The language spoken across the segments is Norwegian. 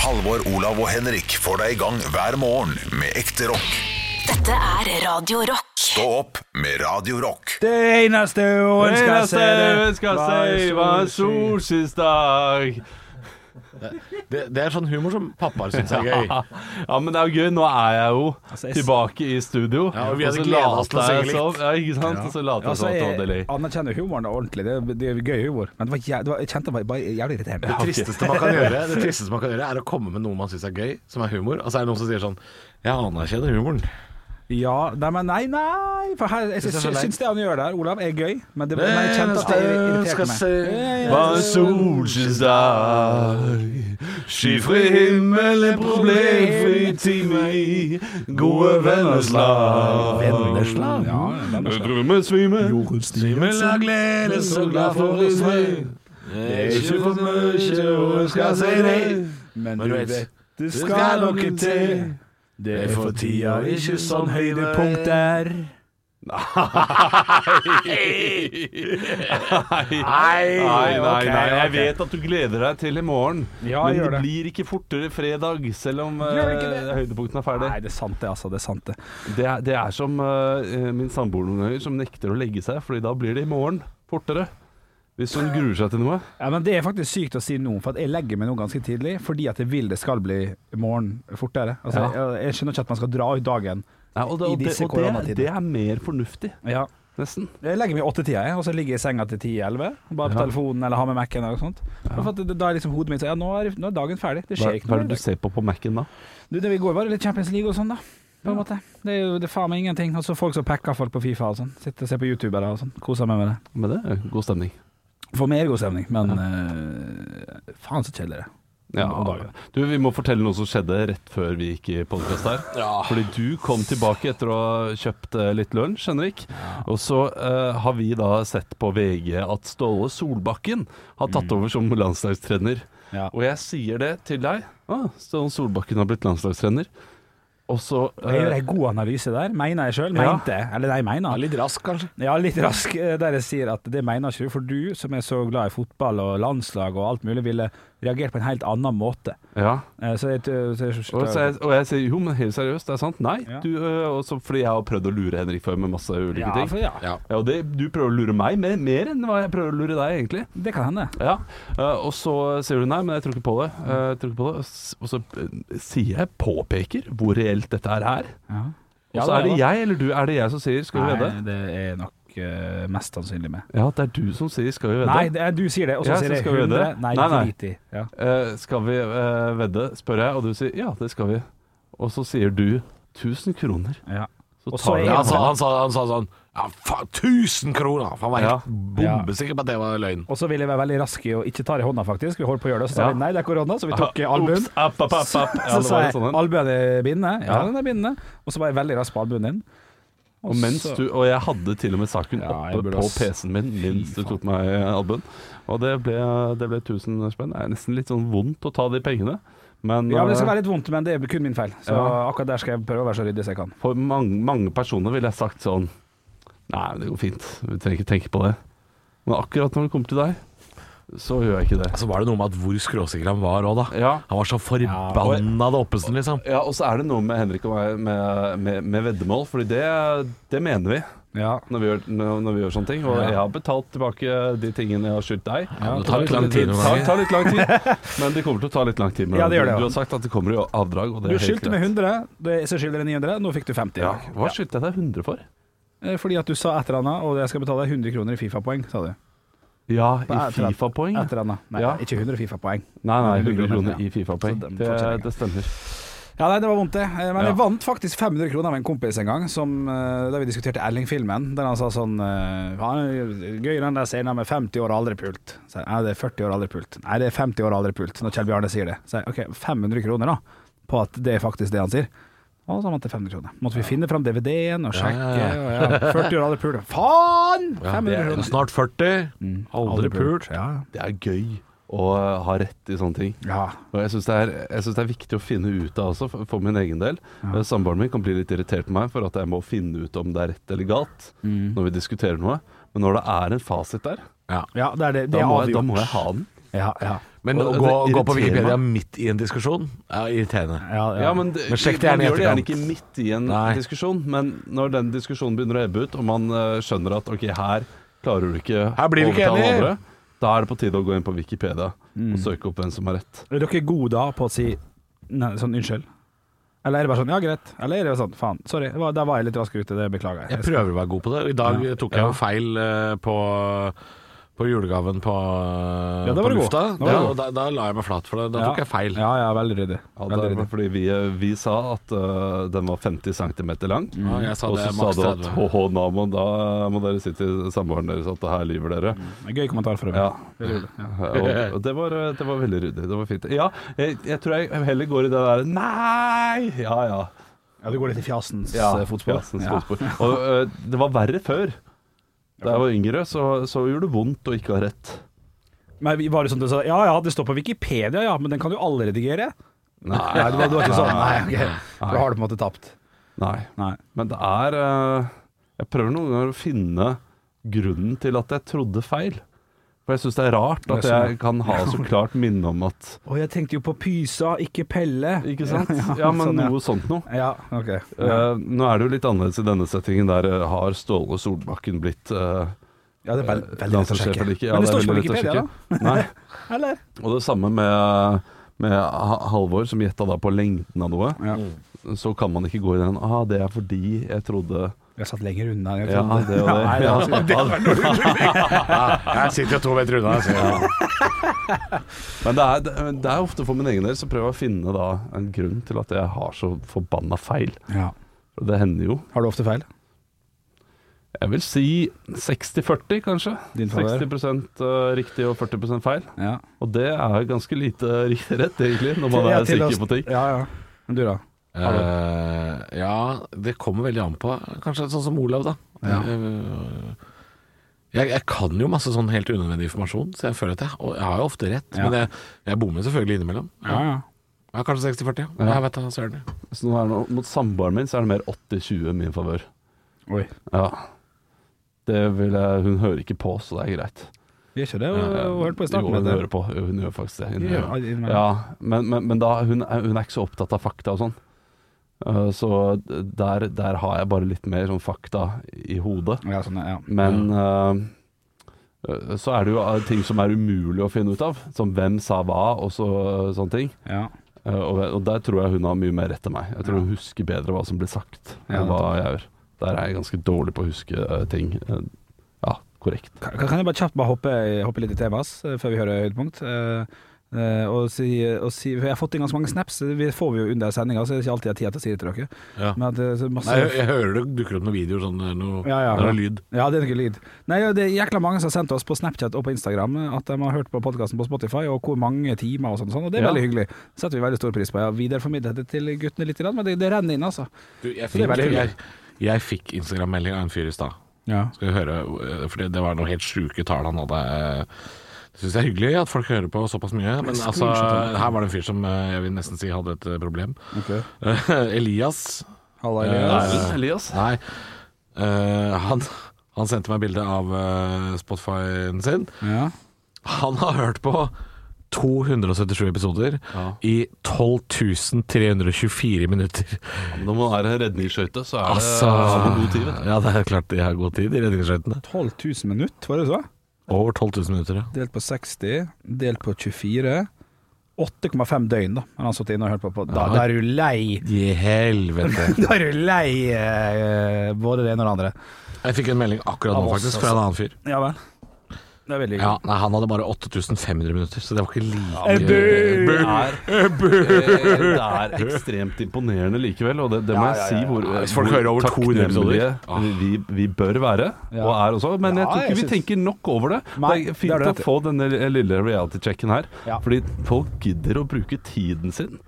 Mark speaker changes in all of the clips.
Speaker 1: Halvor, Olav og Henrik får deg i gang hver morgen med ekte rock.
Speaker 2: Dette er Radio Rock.
Speaker 1: Stå opp med Radio Rock.
Speaker 3: Det eneste hun skal se,
Speaker 4: Eneste skal si var solskinnsdag.
Speaker 5: Det, det er sånn humor som pappaer syns er gøy.
Speaker 4: Ja, men det er jo gøy. Nå er jeg jo
Speaker 3: Altså, jeg-
Speaker 4: tilbake i studio.
Speaker 5: Ja, og vi hadde
Speaker 4: så
Speaker 5: gledet oss til å
Speaker 4: later
Speaker 5: synge
Speaker 4: jeg
Speaker 5: litt.
Speaker 4: som. Ja, ikke sant? Og så later jeg
Speaker 3: Altså,
Speaker 4: som at det
Speaker 3: jeg
Speaker 4: var delay.
Speaker 3: anerkjenner humoren da ordentlig. Det er, det er gøy humor. Men det var jæv- det var, jeg kjente det var bare jævlig irriterende.
Speaker 5: Det tristeste, man kan gjøre, det tristeste man kan gjøre, er å komme med noe man syns er gøy, som er humor. Og så er det noen som sier sånn Jeg anerkjenner humoren.
Speaker 3: Ja, nei, men nei, nei. For her, jeg
Speaker 5: Det er så
Speaker 3: syns,
Speaker 5: leit.
Speaker 3: syns det han gjør der, Olav, er gøy. Men, det, men jeg kjente
Speaker 5: Eh,
Speaker 3: at det irriterte meg.
Speaker 4: Var en solskinnsdag. Skyfri himmel, en problemfri time i gode venners lag.
Speaker 5: Vennesla?
Speaker 3: Ja, den er slem.
Speaker 4: Drømmen svimer,
Speaker 5: Eh,
Speaker 4: svimmel av glede, så glad for i sving. Det er ikke for mye å ønske seg nei,
Speaker 3: men
Speaker 5: Men
Speaker 3: du
Speaker 5: du vet,
Speaker 3: vet, det
Speaker 4: det skal noe til.
Speaker 3: Det
Speaker 5: er for tida ikke sånn
Speaker 3: høydepunkt der.
Speaker 4: Nei, nei,
Speaker 3: ok,
Speaker 4: nei. Jeg
Speaker 3: ok.
Speaker 4: vet at du gleder deg til i morgen,
Speaker 3: Ja,
Speaker 4: men
Speaker 3: gjør
Speaker 4: det
Speaker 3: det.
Speaker 4: blir ikke fortere fredag, selv om
Speaker 3: Gjør det ikke
Speaker 4: eh, høydepunkten er ferdig.
Speaker 3: Nei, det er sant det, altså. Det er sant det.
Speaker 4: Det er, det er som eh, min samboer noen ganger, som nekter å legge seg, Fordi da blir det i morgen fortere. Hvis hun gruer seg til noe.
Speaker 3: Ja, men Det er faktisk sykt å si nå, for at jeg legger meg nå ganske tidlig fordi at jeg vil det skal bli morgen fortere. Altså, jeg, jeg skjønner ikke at man skal dra ut dagen.
Speaker 4: Nei, og det,
Speaker 3: I
Speaker 4: og det,
Speaker 3: disse
Speaker 4: og det,
Speaker 3: koronatider.
Speaker 4: det er mer fornuftig,
Speaker 3: Ja.
Speaker 4: nesten.
Speaker 3: Jeg legger meg i åttetida, jeg, og så ligger jeg i senga til ti-elleve. Bare på
Speaker 4: Ja.
Speaker 3: telefonen eller har med Mac-en eller noe sånt. For at det, da er liksom hodet mitt sånn Ja, nå er, nå er dagen ferdig. Det
Speaker 4: Hva,
Speaker 3: skjer ikke
Speaker 4: hva
Speaker 3: noe.
Speaker 4: er det
Speaker 3: i
Speaker 4: du ser på på Mac-en da?
Speaker 3: dag. Du, det vi går var det litt Champions League og sånn, da. På en måte. Det er jo det er faen meg ingenting. Og så folk som packer folk på Fifa og sånn. Sitter og ser på youtubere og sånn. Koser meg med det.
Speaker 4: Men det er god stemning.
Speaker 3: Får mer god stemning, men eh, faen så kjedelig det er.
Speaker 4: Ja,
Speaker 3: Om dagen.
Speaker 4: du, vi må fortelle noe som skjedde rett før vi gikk i podkast her. Fordi du kom tilbake etter å ha kjøpt eh, litt lunsj, Henrik. Og så eh, har vi da sett på VG at Ståle Solbakken har tatt over som landslagstrener.
Speaker 3: Ja.
Speaker 4: Og jeg sier det til deg. Ah, Ståle Solbakken har blitt landslagstrener. Og så eh,
Speaker 3: Jeg gjør en god analyse der, mener jeg sjøl.
Speaker 4: Ja.
Speaker 3: Mente jeg. Eller nei, mener.
Speaker 5: Litt rask, kanskje.
Speaker 3: Ja, litt rask, eh, der jeg sier at det mener ikke du, for du som er så glad i fotball og landslag og alt mulig, ville reagert på en helt annen måte.
Speaker 4: ja.
Speaker 3: Eh, Så jeg, t- så jeg,
Speaker 4: Og, så jeg, og jeg sier jo, men helt seriøst, det er sant. Nei.
Speaker 3: Ja.
Speaker 4: Du, eh, også fordi jeg har prøvd å lure Henrik før med masse ulike
Speaker 3: ja,
Speaker 4: ting.
Speaker 3: for, ja,
Speaker 5: Ja.
Speaker 4: Ja, og det, du prøver å lure meg mer, mer enn hva jeg prøver å lure deg, egentlig.
Speaker 3: det kan hende.
Speaker 4: Ja, eh, Og så sier du nei, men jeg tror ikke på det. Eh, jeg tror ikke på det. Og s- Og så eh, sier jeg, påpeker, hvor reelt dette her er.
Speaker 3: Ja.
Speaker 4: Og så
Speaker 3: Ja,
Speaker 4: er det
Speaker 3: det
Speaker 4: jeg eller du er det jeg som sier 'skal vi
Speaker 3: Nei,
Speaker 4: vedde'?
Speaker 3: det er nok eh, mest sannsynlig med.
Speaker 4: Ja, det er du som sier 'skal vi vedde'.
Speaker 3: Nei, det er, du sier det, og så
Speaker 4: Ja, så
Speaker 3: sier jeg
Speaker 4: skal vi gjøre
Speaker 3: 100.
Speaker 4: det.
Speaker 3: Nei,
Speaker 4: Nei,
Speaker 3: nei,
Speaker 4: nei.
Speaker 3: 90. Ja.
Speaker 4: Eh, 'Skal vi eh, vedde', spør jeg, og du sier 'ja, det skal vi'. Og så sier du 1000 kroner.
Speaker 3: Ja.
Speaker 4: Så
Speaker 3: Og så
Speaker 4: tar
Speaker 3: er
Speaker 4: du
Speaker 3: jeg-
Speaker 5: Ja, han, sa,
Speaker 4: av.
Speaker 5: han, sa, han sa sånn Ja, faen, 1000 kroner! For han var
Speaker 4: Ja.
Speaker 5: helt bombesikker på at det var løgn.
Speaker 3: Og så ville jeg være veldig rask i å ikke ta det i hånda, faktisk. Vi holdt på å gjøre det, og så sa
Speaker 4: Ja.
Speaker 3: vi nei, det er korona, så vi tok eh,
Speaker 4: Ah,
Speaker 3: albuen.
Speaker 4: ups, app, app, app, app. Ja,
Speaker 3: Så
Speaker 4: det
Speaker 3: sa
Speaker 4: var en
Speaker 3: jeg
Speaker 4: sånn en.
Speaker 3: albuen er bindende. Ja,
Speaker 4: Ja.
Speaker 3: den er bindende. Og så var jeg veldig rask på albuen din.
Speaker 4: Og, mens
Speaker 3: så-
Speaker 4: du, og jeg hadde til og med saken
Speaker 3: Ja, jeg
Speaker 4: oppe
Speaker 3: burde
Speaker 4: på
Speaker 3: ass-
Speaker 4: PC-en min mens du tok meg i albuen. Og det ble, det ble 1000 spenn. Det er nesten litt sånn vondt å ta de pengene. Men,
Speaker 3: Ja, men Det skal
Speaker 4: eh,
Speaker 3: være litt vondt, men det er kun min feil. Så
Speaker 4: Ja.
Speaker 3: akkurat der skal jeg prøve å være så ryddig som jeg kan.
Speaker 4: for mange, mange personer ville jeg sagt sånn Nei, det går fint. Vi trenger ikke tenke på det. Men akkurat når det kommer til deg, så gjør jeg ikke det.
Speaker 5: Så var det noe med at hvor skråsikker han var òg, da.
Speaker 4: Ja,
Speaker 5: Han var så forbanna det oppesen, liksom.
Speaker 4: ja Og så er det noe med Henrik og meg med, med, med veddemål, Fordi det, det mener vi
Speaker 3: Ja.
Speaker 4: når vi, gjør, når, når vi gjør sånne ting. Og jeg har betalt tilbake de tingene jeg har skyldt deg.
Speaker 5: Ja, det tar litt lang tid noen
Speaker 4: tar,
Speaker 5: ganger.
Speaker 4: tar litt lang tid, men det kommer til å ta litt lang tid. men
Speaker 3: Ja, det gjør det, ja.
Speaker 4: Du har sagt at det kommer i avdrag. Og det
Speaker 3: Du
Speaker 4: er helt
Speaker 3: skyldte med
Speaker 4: greit.
Speaker 3: 100, det- så skylder jeg 900. Nå fikk du 50.
Speaker 4: Ja. Hva skyldte jeg deg 100 for?
Speaker 3: Eh, Fordi at du sa et eller annet, og jeg skal betale deg 100 kroner i Fifa-poeng, sa du.
Speaker 4: Ja, i
Speaker 3: Hva er det?
Speaker 4: Fifa-poeng.
Speaker 3: Et eller annet. Nei,
Speaker 4: Ja.
Speaker 3: ikke 100 Fifa-poeng.
Speaker 4: Nei, nei, 100
Speaker 3: Ja.
Speaker 4: kroner i Fifa-poeng.
Speaker 3: Så den
Speaker 4: Det,
Speaker 3: fortsetter ikke.
Speaker 4: det stemmer.
Speaker 3: Ja, nei, det var vondt, det. Eh, Men
Speaker 4: Ja.
Speaker 3: jeg vant faktisk 500 kroner av en kompis en gang, som, eh, da vi diskuterte Erling-filmen, der han sa sånn eh, «Ja, Gøy den der scenen med 50 år og aldri pult. Så jeg, nei, det er 40 år aldri pult. Nei, det er 50 år aldri pult, når Kjell Bjarne sier det. Så jeg, OK, 500 kroner, da, på at det er faktisk det han sier. Og så vant jeg 500 kroner. Måtte vi finne fram DVD-en og sjekke. Og ja. 40 år aldri pult. Faen! 500 kroner.
Speaker 5: Snart 40. Aldri pult.
Speaker 3: Ja.
Speaker 4: Det er gøy å ha rett i sånne ting.
Speaker 3: ja.
Speaker 4: Og jeg syns det, er- jeg synes det er viktig å finne ut av også, for, for min egen del. Eh, Samboeren min kan bli litt irritert på meg for at jeg må finne ut om det er rett eller galt
Speaker 5: Mm.
Speaker 4: når vi diskuterer noe. Men når det er en fasit der,
Speaker 3: Ja, det er det. det
Speaker 4: da
Speaker 3: er
Speaker 4: må jeg, da
Speaker 3: avgjort.
Speaker 4: må jeg ha den.
Speaker 3: Ja, ja.
Speaker 5: Men
Speaker 4: Og
Speaker 5: å
Speaker 4: det
Speaker 5: gå, gå på
Speaker 4: irriterer
Speaker 5: Wikipedia
Speaker 4: meg.
Speaker 5: midt i en diskusjon er irriterende.
Speaker 3: Ja, ja.
Speaker 4: Ja, men, det-
Speaker 5: Men sjekk det gjerne
Speaker 4: man gjør det gjerne
Speaker 5: i
Speaker 4: ikke
Speaker 5: etterkant.
Speaker 4: midt i en
Speaker 5: Nei.
Speaker 4: diskusjon, men når den diskusjonen begynner å ebbe ut, og man eh, skjønner at ok, her klarer du ikke
Speaker 5: Her blir vi ikke
Speaker 4: å overtale
Speaker 5: enige. Mm.
Speaker 4: andre, da er det på tide å gå inn på Wikipedia og søke opp hvem som har rett.
Speaker 3: Er dere gode da på å si nei, sånn unnskyld? Eller er det bare sånn ja, greit? Eller er det sånn faen, sorry, det var- der var jeg litt raskere ute, det beklager jeg.
Speaker 5: Jeg prøver å være god på det. I dag tok jeg jo feil eh, på, på julegaven på, eh,
Speaker 3: Ja, da
Speaker 5: på
Speaker 3: var du god.
Speaker 5: lufta.
Speaker 3: Da var du
Speaker 5: Ja,
Speaker 3: god.
Speaker 5: og da, da la jeg meg flat for det. Da
Speaker 3: Ja.
Speaker 5: tok jeg feil.
Speaker 3: Ja, ja, veldig ryddig.
Speaker 4: Ja,
Speaker 3: Veldig
Speaker 4: det var
Speaker 3: ryddig.
Speaker 4: Eh, fordi vi, vi sa at eh, den var 50 cm lang,
Speaker 5: Ja, jeg sa
Speaker 4: og
Speaker 5: det
Speaker 4: så
Speaker 5: er
Speaker 4: sa
Speaker 5: maks
Speaker 4: du at
Speaker 5: 30.
Speaker 4: HH Namo, da må dere si til samboeren deres at her lyver dere.
Speaker 3: En Gøy kommentar fra
Speaker 4: Ja.
Speaker 3: meg. Veldig ryddig, Ja.
Speaker 4: Og og det var, det var veldig ryddig. Det var fint. Ja, jeg, jeg tror jeg heller går i det der Nei! Ja, ja.
Speaker 3: ja, du går litt i fjasens eh, fotspor.
Speaker 4: Jazzens
Speaker 3: Ja.
Speaker 4: fotspor. Og ø, det var verre før. Da jeg var yngre, så, så gjorde det vondt å ikke ha rett.
Speaker 3: Men vi- var det sånn at du sa ja ja, det står på Wikipedia, ja, men den kan du alle redigere? Nei, det var, det var ikke sånn. Nei, ok. Da har du på en måte tapt.
Speaker 4: Nei.
Speaker 3: Nei.
Speaker 4: Men det er ø, Jeg prøver noen ganger å finne grunnen til at jeg trodde feil. For jeg syns det er rart at
Speaker 3: Det er sånn, ja.
Speaker 4: jeg kan ha så klart minne om at
Speaker 3: Å, jeg tenkte jo på pysa, ikke pelle.
Speaker 4: Ikke sant?
Speaker 3: Ja,
Speaker 4: Ja, men
Speaker 3: sånn, ja.
Speaker 4: noe sånt noe.
Speaker 3: Ja, ok.
Speaker 4: Eh, nå er det jo litt annerledes i denne settingen. Der eh, har Ståle Solbakken blitt uh,
Speaker 3: Ja, det er veld, veldig lett å sjekke.
Speaker 4: Ja,
Speaker 3: men det, står ikke på
Speaker 4: er veldig lett å
Speaker 3: Wikipedia,
Speaker 4: sjekke. Nei.
Speaker 3: da? Eller?
Speaker 4: Og det samme med, med Ha- Halvor, som gjetta da på lengden av noe.
Speaker 3: Ja.
Speaker 4: Så kan man ikke gå i den ah, 'det er fordi jeg trodde
Speaker 3: Jeg satt lenger unna. Jeg altså.
Speaker 4: Ja,
Speaker 3: trodde.
Speaker 4: det og
Speaker 3: Nei,
Speaker 4: det. Ja,
Speaker 3: var-
Speaker 5: Jeg sitter jo to meter unna. Så jeg,
Speaker 4: Men det er, det- det er ofte for min egen del så prøver jeg å finne da en grunn til at jeg har så forbanna feil.
Speaker 3: ja.
Speaker 4: Og Det hender jo.
Speaker 3: Har du ofte feil?
Speaker 4: Jeg vil si 60-40, kanskje.
Speaker 3: Din favør.
Speaker 4: 60 eh, riktig og 40 feil.
Speaker 3: Ja.
Speaker 4: Og det er ganske lite riktig rett, egentlig, når man er
Speaker 3: Til- til
Speaker 4: sikker på ting.
Speaker 3: oss- Ja, ja. Men du, da?
Speaker 5: Eh, ja, det kommer veldig an på. Kanskje sånn som Olav, da. Eh, Jeg, jeg kan jo masse sånn helt unødvendig informasjon, så jeg føler at jeg, og jeg har jo ofte rett.
Speaker 3: Ja.
Speaker 5: Men jeg, jeg bommer selvfølgelig innimellom.
Speaker 3: Ja, ja.
Speaker 5: Ja, kanskje 60-40. Ja. Jeg vet da, søren.
Speaker 4: Så nå er det, mot samboeren min så er det mer 80-20 i min favør.
Speaker 3: Oi.
Speaker 4: Ja. Det vil jeg, hun hører ikke på, så det er greit. Eh,
Speaker 3: Gjør ikke det? Hun hørte på i
Speaker 4: Jo,
Speaker 3: starten.
Speaker 4: hun hører
Speaker 3: dette.
Speaker 4: på. Jo, Hun gjør faktisk det. Hun
Speaker 3: Ja,
Speaker 4: gjør.
Speaker 3: innimellom.
Speaker 4: Ja, men men, men da, hun, er, hun er ikke så opptatt av fakta og sånn. Uh, Så der, der har jeg bare litt mer sånn fakta i hodet.
Speaker 3: Ja, sånn, ja.
Speaker 4: Men uh, uh, så er det jo uh, ting som er umulig å finne ut av. Som hvem sa hva, og så, uh, sånne ting.
Speaker 3: ja.
Speaker 4: Uh, Og, og der tror jeg hun har mye mer rett enn meg. Jeg tror hun husker bedre hva som blir sagt,
Speaker 3: Ja,
Speaker 4: enn hva jeg gjør. Der er jeg ganske dårlig på å huske uh, ting. uh, Ja, korrekt.
Speaker 3: Kan, kan jeg bare kjapt bare hoppe, hoppe litt i temaet ass, eh, før vi hører høydepunkt? Eh, eh, og si, og si, for jeg har fått inn ganske mange snaps, vi får vi jo under sendinga, så det er ikke alltid jeg har tid til å si det til dere.
Speaker 5: Ja.
Speaker 3: Men at, det er så masse,
Speaker 5: Nei, jeg, jeg hører det dukker opp noen videoer sånn, det er noe,
Speaker 3: Ja, ja.
Speaker 5: det er noe lyd.
Speaker 3: Ja, det er noe lyd. Nei, ja, det er jækla mange som har sendt oss på Snapchat og på Instagram at de har hørt på podkasten på Spotify, og hvor mange timer og sånn, og sånn, og det er
Speaker 4: Ja.
Speaker 3: veldig hyggelig. setter vi veldig stor pris på. Jeg har videreformidlet det til guttene litt, i dag, men det, det renner inn, altså.
Speaker 5: Du,
Speaker 3: Det er
Speaker 5: jeg fikk,
Speaker 3: veldig hyggelig.
Speaker 5: jeg, jeg fikk Instagram-melding av en fyr i stad.
Speaker 3: Ja.
Speaker 5: Skal vi høre, eh, for det, det var noen helt sjuke tall han hadde. eh, Det syns jeg er hyggelig at folk hører på såpass mye, men altså, her var det en fyr som eh, jeg vil nesten si hadde et eh, problem.
Speaker 3: Ok.
Speaker 5: Elias
Speaker 3: Halla, Elias.
Speaker 5: Eh,
Speaker 4: Elias?
Speaker 5: Nei, eh, han, han sendte meg bilde av eh, Spotify-en sin.
Speaker 3: Ja.
Speaker 5: Han har hørt på 277 episoder
Speaker 4: Ja.
Speaker 5: i 12.324 minutter.
Speaker 4: Når man er en redningsskøyte, så er
Speaker 5: Altså,
Speaker 4: det har man god tid. vet du.
Speaker 5: ja, det er klart de har god tid i redningsskøytene.
Speaker 3: 12 000 minutt, var det så?
Speaker 5: Over 12 000 minutter, ja.
Speaker 3: Delt på 60, delt på 24. 8,5 døgn, da. Han har sittet inne og hørt på. på. Da,
Speaker 5: Ja.
Speaker 3: da er du lei.
Speaker 5: I helvete.
Speaker 3: Da er du lei eh, både det ene og det andre.
Speaker 5: Jeg fikk en melding akkurat
Speaker 3: Av
Speaker 5: nå,
Speaker 3: oss,
Speaker 5: faktisk, fra en annen fyr.
Speaker 3: Ja vel. Det er veldig hyggelig.
Speaker 5: Ja, nei, Han hadde bare 8500 minutter, så det var ikke like
Speaker 3: men- Ebbe!
Speaker 4: Det er, eh, det er ekstremt imponerende likevel, og det, det må
Speaker 3: Ja,
Speaker 4: jeg
Speaker 3: ja, ja,
Speaker 4: si
Speaker 3: ja.
Speaker 4: hvor,
Speaker 5: Hvis folk hører over 200 episoder. Ah.
Speaker 4: takknemlige vi, vi bør være,
Speaker 3: Ja.
Speaker 4: og er også, men
Speaker 3: Ja,
Speaker 4: jeg tror
Speaker 3: jeg
Speaker 4: ikke vi
Speaker 3: syns-
Speaker 4: tenker nok over det.
Speaker 3: Nei,
Speaker 4: det er
Speaker 3: det
Speaker 4: fint
Speaker 3: er det rett i.
Speaker 4: å få denne lille reality-checken her,
Speaker 3: Ja.
Speaker 4: fordi folk gidder å bruke tiden sin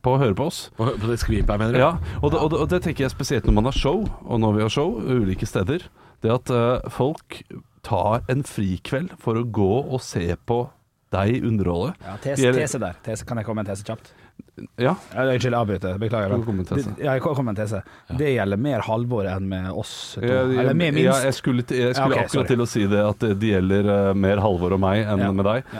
Speaker 4: på å høre på oss.
Speaker 5: På, på det skvipet her, mener du?
Speaker 4: Ja, og det, og, det, og det tenker jeg spesielt når man har show, og når vi har show ulike steder. Det at eh, folk tar en frikveld for å gå og se på deg underholde.
Speaker 3: Ja, tese,
Speaker 4: Gjelder-
Speaker 3: tese der. Tese, kan jeg komme med en tese kjapt?
Speaker 4: Ja,
Speaker 3: Ja, Unnskyld, jeg avbryter. Beklager.
Speaker 4: Du kan komme med en tese.
Speaker 3: Det- Ja, jeg kan komme med en tese. Det gjelder mer Halvor enn med oss to.
Speaker 4: jeg,
Speaker 3: Eller med
Speaker 4: ja, jeg
Speaker 3: minst.
Speaker 4: skulle, til- jeg
Speaker 3: Ja,
Speaker 4: skulle
Speaker 3: ok,
Speaker 4: akkurat
Speaker 3: sorry.
Speaker 4: til å si det, at det det gjelder eh, mer Halvor og meg enn
Speaker 3: Ja.
Speaker 4: med deg.
Speaker 3: Ja.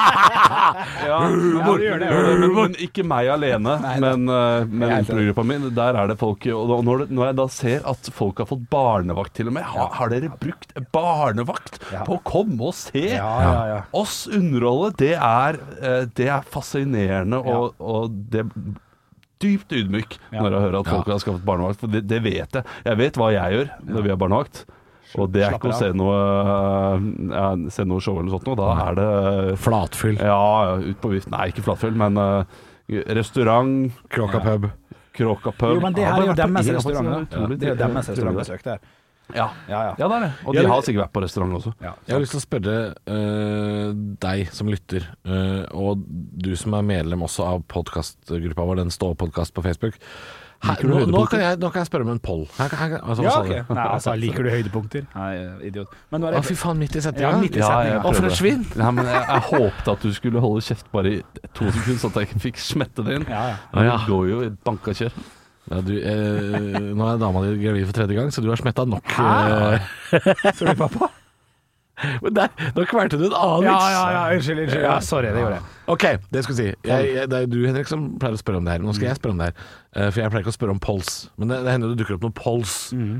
Speaker 4: Ja, men,
Speaker 3: Ja, du gjør det, gjør det.
Speaker 4: men, men ikke meg alene, men, eh, men
Speaker 3: Jeg er helt enig.
Speaker 4: improgruppa mi. Der er det folk Og da- når, det- når jeg da ser at folk har fått barnevakt til og med Har, har dere brukt barnevakt
Speaker 3: Ja.
Speaker 4: på å komme og se
Speaker 3: Ja, ja, ja.
Speaker 4: oss underholde? Det er, eh, det er fascinerende, og, og det Dypt ydmyk
Speaker 3: Ja.
Speaker 4: når jeg hører at folk har skaffet barnevakt, for det, det vet jeg. Jeg vet hva jeg gjør når vi har barnevakt. Og det er
Speaker 3: Slapper
Speaker 4: ikke å
Speaker 3: av.
Speaker 4: se noe, eh, ja, se noe show eller noe sånt noe. Da er det
Speaker 5: Flatfyll.
Speaker 4: ja, ja, ut på vift. Nei, ikke flatfjell, men eh, restaurant,
Speaker 5: Kråka pub.
Speaker 4: Kråka pub.
Speaker 3: Jo, men det
Speaker 4: Ja,
Speaker 3: her er jo
Speaker 4: bare vært på
Speaker 3: deres
Speaker 4: én,
Speaker 3: restaurant.
Speaker 4: faktisk.
Speaker 3: da. Det er jo deres restaurantbesøk der.
Speaker 4: Ja.
Speaker 3: Ja, ja.
Speaker 4: ja, det er det. Og
Speaker 5: Ja,
Speaker 4: de
Speaker 5: men-
Speaker 4: har sikkert vært på restaurant også.
Speaker 3: Ja.
Speaker 5: Jeg har lyst til å spørre eh, deg som lytter, eh, og du som er medlem også av podkastgruppa vår, den stå-podkast på Facebook. Her,
Speaker 4: Liker du
Speaker 5: nå, nå,
Speaker 4: høydepunkter?
Speaker 5: kan jeg, nå kan jeg spørre om en poll. Her, her, altså, hva
Speaker 3: Ja,
Speaker 5: sa
Speaker 3: ok.
Speaker 5: du?
Speaker 3: Nei, altså, liker du høydepunkter? Nei, eh, idiot. Men nå er
Speaker 5: Å,
Speaker 3: jeg
Speaker 5: fy faen, midt i
Speaker 3: Ja,
Speaker 5: setninga?
Speaker 3: midt i setningen.
Speaker 4: jeg
Speaker 5: Å, for et
Speaker 4: prøvde.
Speaker 5: svin!
Speaker 4: Nei, men jeg, jeg håpte at du skulle holde kjeft bare i to sekunder, så at jeg ikke fikk smette det inn.
Speaker 3: Ja, ja.
Speaker 4: Men
Speaker 5: Ja.
Speaker 4: Det går jo i banka kjør.
Speaker 5: Ja, du, eh, nå er dama di gravid for tredje gang, så du har smetta nok.
Speaker 3: Hæ?
Speaker 5: eh,
Speaker 3: Tror du pappa?
Speaker 5: men der, nå kvelte du en annen
Speaker 3: Ja,
Speaker 5: vits.
Speaker 3: ja, ja, unnskyld, unnskyld. Ja, sorry, det gjorde jeg.
Speaker 5: Ok, det skulle jeg si. Jeg, jeg, det er jo du Henrik som pleier å spørre om det her. Nå skal jeg spørre om det her. Eh, For jeg pleier ikke å spørre om pols. Men det, det hender det dukker opp noen pols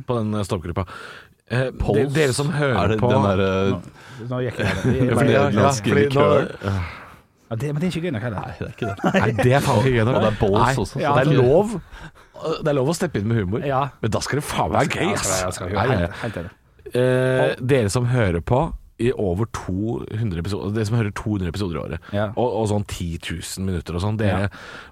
Speaker 5: på den eh, stoppgruppa. Eh, de, dere som hører
Speaker 4: Er det
Speaker 5: på
Speaker 4: den eh, derre
Speaker 3: Nå gikk jeg det. det.
Speaker 4: Ja,
Speaker 3: er
Speaker 4: for
Speaker 3: bare-
Speaker 4: det
Speaker 5: ja,
Speaker 4: er
Speaker 5: ja,
Speaker 4: danske
Speaker 5: fordi nå-
Speaker 3: Ja, det, men det er ikke gøy nok heller.
Speaker 4: Nei, det er ikke det.
Speaker 5: Nei, det er faen ikke gøy nok.
Speaker 4: Og det er balls
Speaker 5: Nei,
Speaker 4: også, så det
Speaker 5: ja,
Speaker 4: er
Speaker 5: det, er
Speaker 4: ikke-
Speaker 5: lov, det er lov å steppe inn med humor,
Speaker 3: Ja.
Speaker 5: men da skal det faen meg være gøy, ass!
Speaker 3: Jeg skal
Speaker 5: Nei,
Speaker 3: gjøre
Speaker 5: nei.
Speaker 3: det. Helt enig.
Speaker 5: Eh, dere som hører på i over 200 episoder Dere som hører 200 episoder i året,
Speaker 3: Ja.
Speaker 5: og, og sånn 10 000 minutter og sånn. Dere,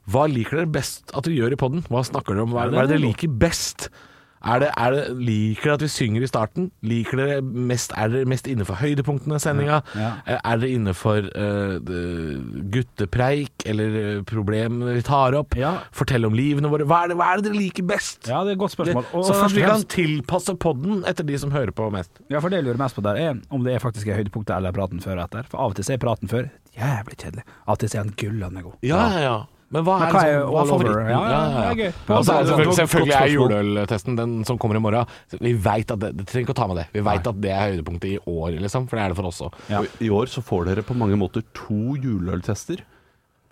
Speaker 5: Hva liker dere best at vi gjør i poden? Hva snakker dere om? Hva er det, hva er det dere liker best? Er det, er det, liker dere at vi synger i starten? Liker dere mest, er dere mest innenfor høydepunktene i sendinga?
Speaker 3: Ja.
Speaker 5: Eh, Er dere innenfor eh, det- guttepreik eller eh, problemer vi tar opp?
Speaker 3: Ja.
Speaker 5: Fortell om livene våre. Hva er det, hva er det dere liker best?
Speaker 3: Ja, det er et godt
Speaker 5: Det,
Speaker 3: spørsmål. Og,
Speaker 5: så
Speaker 3: først
Speaker 5: først
Speaker 3: og
Speaker 5: vi kan
Speaker 3: fremst,
Speaker 5: tilpasse podden etter de som hører på mest.
Speaker 3: ja, for det jeg lurer mest på der, er om det er faktisk er høydepunktet eller praten før og etter. For av og til så er praten før jævlig kjedelig. Av og til så er han gullende god.
Speaker 5: Ja, ja, ja. Men hva
Speaker 3: Men
Speaker 5: er,
Speaker 3: hva
Speaker 5: liksom,
Speaker 3: er
Speaker 5: hva
Speaker 3: all
Speaker 5: er
Speaker 3: over?
Speaker 5: favoritten?
Speaker 3: Ja, ja, det er gøy. Altså,
Speaker 5: Ja, så er det
Speaker 4: Det var et
Speaker 5: selvfølgelig,
Speaker 4: godt
Speaker 5: selvfølgelig er
Speaker 4: spørsmål.
Speaker 5: juleøltesten den som kommer i morgen. Vi vet at det, det trenger ikke å ta med det. Vi vet at det er høydepunktet i år, liksom, for det er det for oss òg.
Speaker 3: Ja.
Speaker 4: Og I år så får dere på mange måter to juleøltester.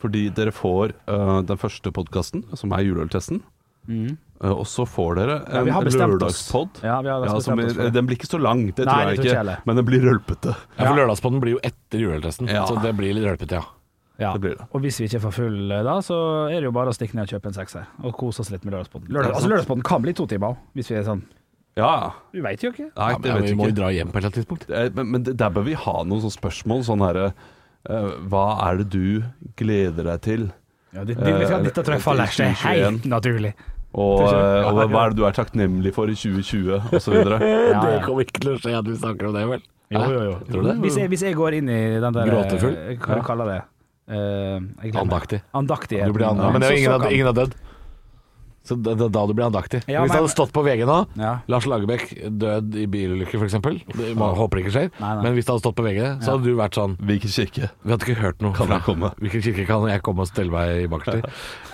Speaker 4: Fordi dere får øh, den første podkasten, som er juleøltesten. Eh, og så får dere
Speaker 3: Mm. Ja,
Speaker 4: en
Speaker 3: vi har bestemt oss.
Speaker 4: lørdagspod.
Speaker 3: Ja, vi har bestemt
Speaker 4: som
Speaker 3: oss for
Speaker 4: i-
Speaker 3: det.
Speaker 4: den blir ikke så lang,
Speaker 3: Nei,
Speaker 4: det tror
Speaker 3: det
Speaker 4: jeg
Speaker 3: tror
Speaker 4: ikke.
Speaker 3: ikke jeg heller.
Speaker 4: men den blir rølpete.
Speaker 5: Ja, for lørdagspodden blir jo etter juleøltesten,
Speaker 4: Ja.
Speaker 5: så det blir litt rølpete, ja.
Speaker 3: Ja.
Speaker 4: Det blir det.
Speaker 3: Og hvis vi ikke får full eh, da, så er det jo bare å stikke ned og kjøpe en sekser og kose oss litt med Lørdagspodden. Lørdag, altså, Lørdagspodden kan bli to timer også, hvis vi er sånn
Speaker 4: Ja,
Speaker 3: Vi veit jo ikke.
Speaker 4: Nei,
Speaker 5: ja
Speaker 4: det
Speaker 5: men,
Speaker 4: vet
Speaker 5: vi må
Speaker 4: jeg
Speaker 5: jo
Speaker 4: ikke.
Speaker 5: dra hjem på et eller annet tidspunkt.
Speaker 4: Eh, Men, men der bør vi ha noen sånne spørsmål. Sånn herre eh, Hva er det du gleder deg til?
Speaker 3: Ja, det,
Speaker 4: Eh,
Speaker 3: det, dette tror jeg faller seg helt naturlig.
Speaker 4: Og,
Speaker 3: Tror ikke-
Speaker 4: eh, og hva er det du er takknemlig for i 2020? Og så videre.
Speaker 3: Ja, ja.
Speaker 5: Det kommer ikke til å skje at vi snakker om det, vel?
Speaker 3: Jo, jo, jo.
Speaker 5: Tror du det?
Speaker 3: Hvis, jeg, hvis jeg går inn i den der
Speaker 5: Gråtefull?
Speaker 3: eh, Hva du kaller det? Eh, jeg glemmer.
Speaker 5: Andaktig.
Speaker 3: Andaktig.
Speaker 5: Du blir andaktig.
Speaker 3: Ja,
Speaker 5: Men det er
Speaker 3: så-
Speaker 5: jo ingen,
Speaker 3: så
Speaker 5: har-
Speaker 3: kan-
Speaker 5: ingen har dødd. Så det det er da du blir andaktig.
Speaker 3: Ja,
Speaker 5: Hvis det
Speaker 3: men-
Speaker 5: hadde stått på VG nå
Speaker 3: Ja.
Speaker 5: Lars Lagerbäck død i bilulykke, f.eks. Håper det ikke skjer.
Speaker 3: Nei, nei.
Speaker 5: Men hvis det hadde stått på VG, så hadde du vært sånn
Speaker 4: Hvilken kirke?
Speaker 5: Vi hadde ikke hørt noe.
Speaker 4: Kan
Speaker 5: fra
Speaker 4: jeg komme?
Speaker 5: Hvilken kirke kan jeg komme og stelle meg i bakerst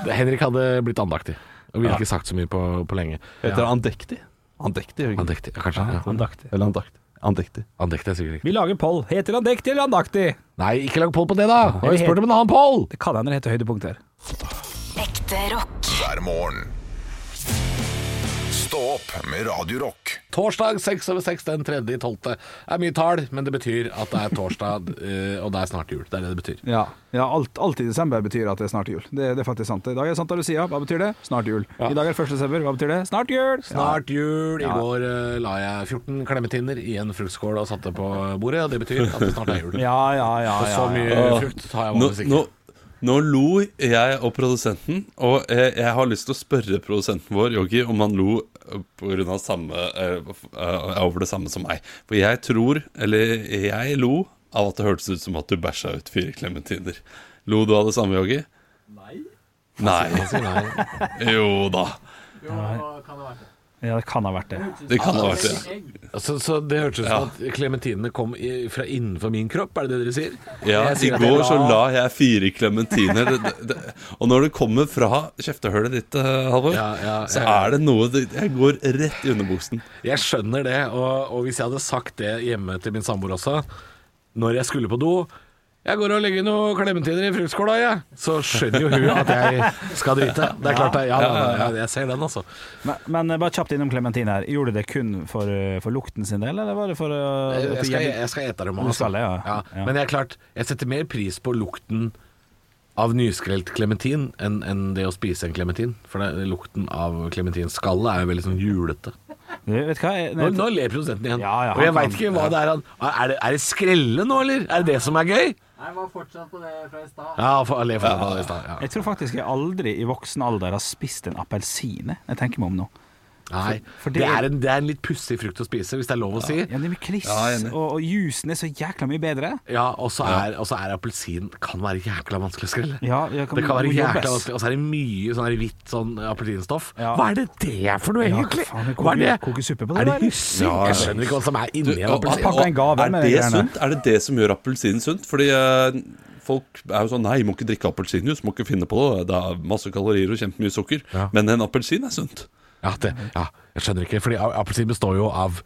Speaker 5: i? Henrik hadde blitt andaktig. Og ville ikke sagt så mye på, på lenge.
Speaker 4: Heter det andektig? Andektig, gjør det ikke?
Speaker 5: Andektig, ja, kanskje. Ja.
Speaker 3: Andaktig.
Speaker 4: Eller andaktig. Andektig.
Speaker 5: Andektig er sikkert riktig.
Speaker 3: Vi lager poll. Heter det andektig eller andaktig?
Speaker 5: Nei, ikke lag poll på det, da! Nå har vi spurt om en annen poll!
Speaker 3: Det kan hende det heter høydepunkter.
Speaker 2: Ekte rock.
Speaker 1: hver morgen. Stå opp med Radio Rock.
Speaker 5: Torsdag seks over seks den tredje i tolvte. Det er mye tall, men det betyr at det er torsdag, eh, og det er snart jul. Det er det det betyr.
Speaker 3: Ja, alt, alt i desember betyr at det er snart jul. Det, det er faktisk sant. I dag er Santa Lucia. Hva betyr det? Snart jul. I dag er det 1. desember. Hva betyr det? Snart jul!
Speaker 5: Snart jul. I går eh, la jeg 14 klemmetinner i en fruktskål og satte på bordet, og det betyr at det snart er jul.
Speaker 3: Ja, ja, ja.
Speaker 5: Og
Speaker 3: ja,
Speaker 5: så
Speaker 3: ja.
Speaker 5: mye
Speaker 6: Ja.
Speaker 5: frukt har jeg
Speaker 6: Nå,
Speaker 5: vanligvis
Speaker 6: nå,
Speaker 5: ikke.
Speaker 6: nå lo jeg og produsenten, og eh, jeg har lyst til å spørre produsenten vår, Yogi, om han lo eh, på grunn av samme, eh, f- eh, over det samme som meg. For jeg tror, eller jeg lo av at det hørtes ut som at du bæsja ut fire klementiner. Lo du av det samme, Yogi? Nei. Nei.
Speaker 5: Nei.
Speaker 6: Jo da.
Speaker 3: Ja, det kan ha vært det.
Speaker 4: Det kan ha vært det.
Speaker 5: Så, så det hørtes ut som at klementinene kom i, fra innenfor min kropp, er det det dere sier?
Speaker 4: Ja,
Speaker 5: Jeg
Speaker 4: I
Speaker 5: sier at jeg
Speaker 4: går så
Speaker 5: la-
Speaker 4: la jeg fire klementiner. Og når det kommer fra kjeftehølet ditt, eh, Halvor,
Speaker 5: Ja, ja,
Speaker 4: så
Speaker 5: ja.
Speaker 4: er det noe det- Jeg går rett i underbuksen.
Speaker 5: Jeg skjønner det, og, og hvis jeg hadde sagt det hjemme til min samboer også, når jeg skulle på do jeg går og legger noen klementiner i fruktskåla, jeg. Så skjønner jo hun at jeg skal drite. Det er klart, det. ja, ja, ja, jeg ser den, altså.
Speaker 3: Men, men eh, bare kjapt innom Clementine her. Gjorde du det kun for, eh, for lukten sin del, eller var det for eh, at
Speaker 5: Jeg
Speaker 3: du
Speaker 5: skal,
Speaker 3: gjerne-
Speaker 5: jeg skal ete dem
Speaker 3: Du skal det, ja. Ja.
Speaker 5: Men jeg, er klart, jeg setter mer pris på lukten av nyskrelt klementin enn enn det å spise en klementin. For det, lukten av klementinskallet er jo veldig sånn julete.
Speaker 3: Du, Vet du hva? Jeg-
Speaker 5: Nå, nå ler produsenten igjen.
Speaker 3: Ja, ja,
Speaker 5: og jeg
Speaker 3: han
Speaker 5: veit
Speaker 3: kan-
Speaker 5: ikke hva det er han Er det, er det skrelle nå, eller? Er det det som er gøy?
Speaker 7: Jeg var fortsatt på det fra i stad.
Speaker 5: Ja, for, jeg ler for det var det i stad. Ja.
Speaker 3: Jeg tror faktisk jeg aldri i voksen alder har spist en appelsin. eh. jeg. Jeg tenker meg om nå.
Speaker 5: Nei,
Speaker 3: for det-
Speaker 5: det, er en, det er en litt pussig frukt å spise, hvis det er lov å si.
Speaker 3: Ja, det er mye kliss,
Speaker 4: Ja, jeg er enig.
Speaker 3: og, og jusen er så jækla mye bedre.
Speaker 5: Ja, og så er, og så er appelsin Kan være jækla vanskelig å skrelle.
Speaker 3: Ja, jeg kan-
Speaker 5: det kan være
Speaker 3: må jobbes.
Speaker 5: jækla vanskelig. Og så er det mye sånn her hvitt sånn appelsinstoff.
Speaker 3: Ja.
Speaker 5: Hva er det det er for noe,
Speaker 3: Ja,
Speaker 5: egentlig?
Speaker 3: faen, det koker-
Speaker 5: Hva er det?
Speaker 3: koker suppe på det,
Speaker 5: er det
Speaker 3: eller?
Speaker 5: hyssing?
Speaker 4: Ja,
Speaker 5: jeg skjønner ikke hva som er inni en
Speaker 4: og-
Speaker 5: appelsin.
Speaker 3: Pakka en gave
Speaker 4: og
Speaker 3: med
Speaker 4: er
Speaker 3: de
Speaker 4: det
Speaker 3: greiene.
Speaker 4: sunt? Er det det som gjør appelsinen sunt? Fordi eh, folk er jo sånn Nei, må ikke drikke appelsinjuice, må ikke finne på det. Det er masse kalorier og kjempemye sukker.
Speaker 5: Ja.
Speaker 4: Men en appelsin er sunt.
Speaker 5: Ja, det, ja, jeg skjønner ikke. Fordi a- appelsin består jo av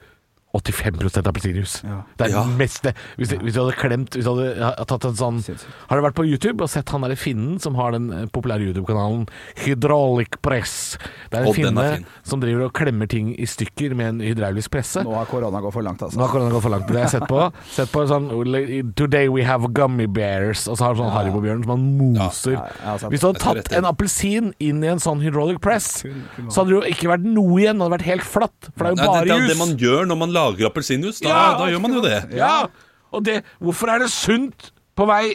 Speaker 5: 85 appelsinjuice. Det er
Speaker 4: Ja.
Speaker 5: det meste. Hvis, du- hvis du hadde klemt Hvis du hadde ja, tatt en sånn
Speaker 3: Sinnssykt.
Speaker 5: Har du vært på YouTube og sett han derre finnen som har den eh, populære YouTube-kanalen Hydraulic Press? Det er en
Speaker 4: Og den er
Speaker 5: finne
Speaker 4: fin.
Speaker 5: som driver og klemmer ting i stykker med en hydraulisk presse.
Speaker 3: Nå har korona gått for langt, altså.
Speaker 5: Nå har korona gått for langt. men Det har jeg sett på. Sett på sånn Today we have gummy bears. Og så har du sånn Haribo-bjørn som han moser.
Speaker 3: Ja, ja, jeg har sett
Speaker 5: Hvis du hadde
Speaker 4: Jeg skal
Speaker 5: tatt
Speaker 4: rett inn.
Speaker 5: en appelsin inn i en sånn hydraulic press,
Speaker 3: Kun- kun
Speaker 5: så hadde det jo ikke vært noe igjen. Det hadde vært helt flatt. For det
Speaker 4: Nei,
Speaker 5: er
Speaker 4: det,
Speaker 5: jo
Speaker 4: det
Speaker 5: bare
Speaker 4: er det
Speaker 5: jus.
Speaker 4: man gjør når man lager appelsinjuice. Da,
Speaker 5: Ja,
Speaker 4: da gjør man jo det.
Speaker 5: Ja. Og det Hvorfor er det sunt på vei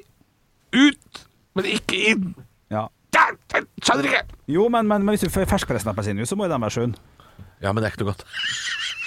Speaker 5: ut, men ikke inn?
Speaker 3: Ja.
Speaker 5: Ja, jeg Skjønner ikke.
Speaker 3: Jo, men, men, men hvis du får ferskpressen appelsinjuice, så må jo den være sunn.
Speaker 5: Ja, men det er ikke noe godt.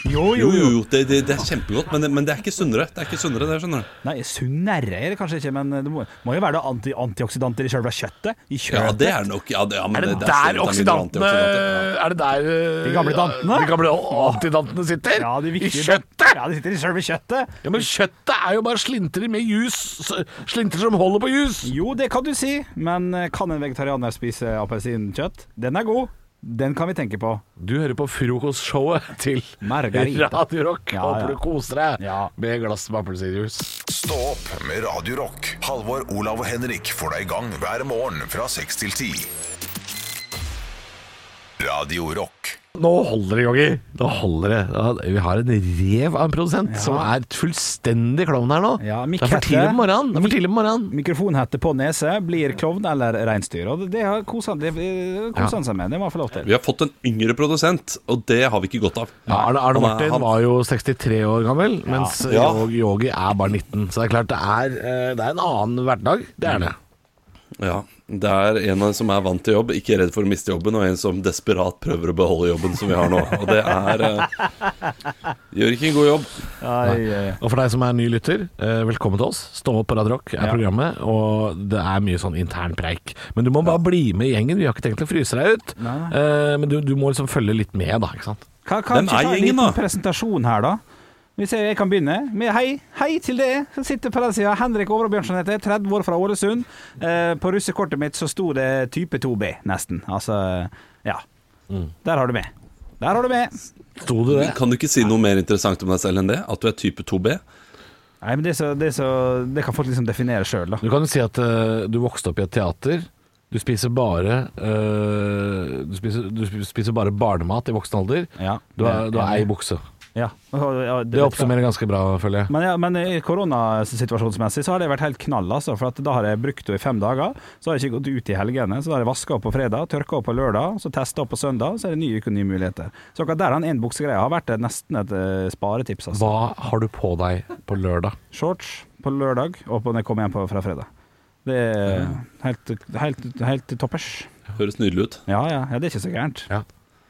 Speaker 3: Jo,
Speaker 4: Jo, jo, jo, det, det, det er kjempegodt, men, men det er ikke sunnere. Det er ikke sunnere, det skjønner du.
Speaker 3: Nei, sunnere er det kanskje ikke, men det må, må jo være da anti antioksidanter i selve kjøttet. I kjøttet.
Speaker 4: Ja, det er nok ja, det, ja, men
Speaker 5: Er det
Speaker 4: det
Speaker 5: der
Speaker 4: steroider og
Speaker 5: oksidantene
Speaker 4: antioksidanter, ja.
Speaker 5: Er det der eh,
Speaker 3: De gamle dantene?
Speaker 5: De gamle antidantene sitter?
Speaker 3: Ja, de
Speaker 5: I
Speaker 3: viktige-
Speaker 5: kjøttet?
Speaker 3: Ja, det sitter i selve kjøttet.
Speaker 5: Ja, Men kjøttet er jo bare slinter med jus. s- Slinter som holder på jus.
Speaker 3: Jo, det kan du si, men eh, kan en vegetarianer spise appelsinkjøtt? Den er god. Den kan vi tenke på.
Speaker 5: Du hører på frokostshowet til
Speaker 3: Margarita.
Speaker 5: Radio Rock.
Speaker 3: Ja, ja.
Speaker 5: Håper du koser deg
Speaker 3: Ja.
Speaker 5: med glass med appelsinjuice.
Speaker 1: Stå opp med Radio Rock. Halvor, Olav og Henrik får deg i gang hver morgen fra 6 til 10. Radio Rock.
Speaker 5: Nå holder det, Joggi. Nå holder det. Ja, Vi har en rev av en produsent som er et fullstendig klovn her nå.
Speaker 3: Ja,
Speaker 5: det
Speaker 3: Mikk
Speaker 5: er for
Speaker 3: heter-
Speaker 5: tidlig på morgenen. Det er for tidlig på morgenen.
Speaker 3: Mikrofonhette på nese blir klovn eller reinsdyr. Og det har kosa det, det koser han seg med. Det må han få lov til.
Speaker 4: Vi har fått en yngre produsent, og det har vi ikke godt av.
Speaker 5: Ja, Arne, Arne
Speaker 4: Han er-
Speaker 5: Martin
Speaker 4: han-
Speaker 5: var jo 63 år gammel, mens
Speaker 4: Ja.
Speaker 5: Yo- Yogi er bare 19. Så det er klart det er, eh, det er en annen hverdag. Det er det.
Speaker 4: Ja, det er en av dem som er vant til jobb, ikke redd for å miste jobben, og en som desperat prøver å beholde jobben som vi har nå. Og det er eh, Gjør ikke en god jobb.
Speaker 3: Ai, ai, ai.
Speaker 5: Og for deg som er ny lytter, eh, velkommen til oss. Stå opp på Radio Rock er
Speaker 3: Ja.
Speaker 5: programmet, og det er mye sånn intern preik. Men du må bare bli med i gjengen. Vi har ikke tenkt å fryse deg ut,
Speaker 3: Nei.
Speaker 5: Eh, men du, du må liksom følge litt med, da. ikke sant?
Speaker 3: Kan, kan
Speaker 4: Hvem
Speaker 3: ikke
Speaker 4: er
Speaker 3: ta en
Speaker 4: gjengen,
Speaker 3: liten
Speaker 4: da?
Speaker 3: presentasjon her, da? Hvis jeg, jeg kan begynne. Med hei, hei til deg som sitter på den sida. Henrik Overå Bjørnson heter jeg, 30 år fra Ålesund. Eh, på russekortet mitt så sto det type 2B, nesten. Altså, ja.
Speaker 4: Mm.
Speaker 3: Der har du med. Der har du med.
Speaker 5: Sto du det?
Speaker 4: Kan du ikke si noe mer interessant om deg selv enn det? At du er type 2B?
Speaker 3: Nei, men det, er så, det, er så, det kan folk liksom definere sjøl, da.
Speaker 5: Du kan jo si at eh, du vokste opp i et teater. Du spiser bare eh, du, spiser, du spiser bare barnemat i voksen alder.
Speaker 3: Ja.
Speaker 5: Du har, du har
Speaker 3: Ja.
Speaker 5: ei bukse.
Speaker 3: Ja. Ja,
Speaker 5: Det oppsummerer ganske bra, føler jeg.
Speaker 3: Men, ja, men i koronasituasjonsmessig så har det vært helt knall, altså. For at da har jeg brukt henne i fem dager. Så har jeg ikke gått ut i helgene. Så da har jeg vaska opp på fredag, tørka opp på lørdag, så testa opp på søndag. Så er det ny uke og nye muligheter. Så akkurat der han enbuksegreia har vært et- nesten et eh, sparetips, altså.
Speaker 5: Hva har du på deg på lørdag?
Speaker 3: Shorts på lørdag, og på når jeg kommer hjem på, fra fredag. Det er helt, helt, helt toppers.
Speaker 4: Høres nydelig ut.
Speaker 3: Ja, ja, ja, det er ikke så gærent.
Speaker 5: Ja.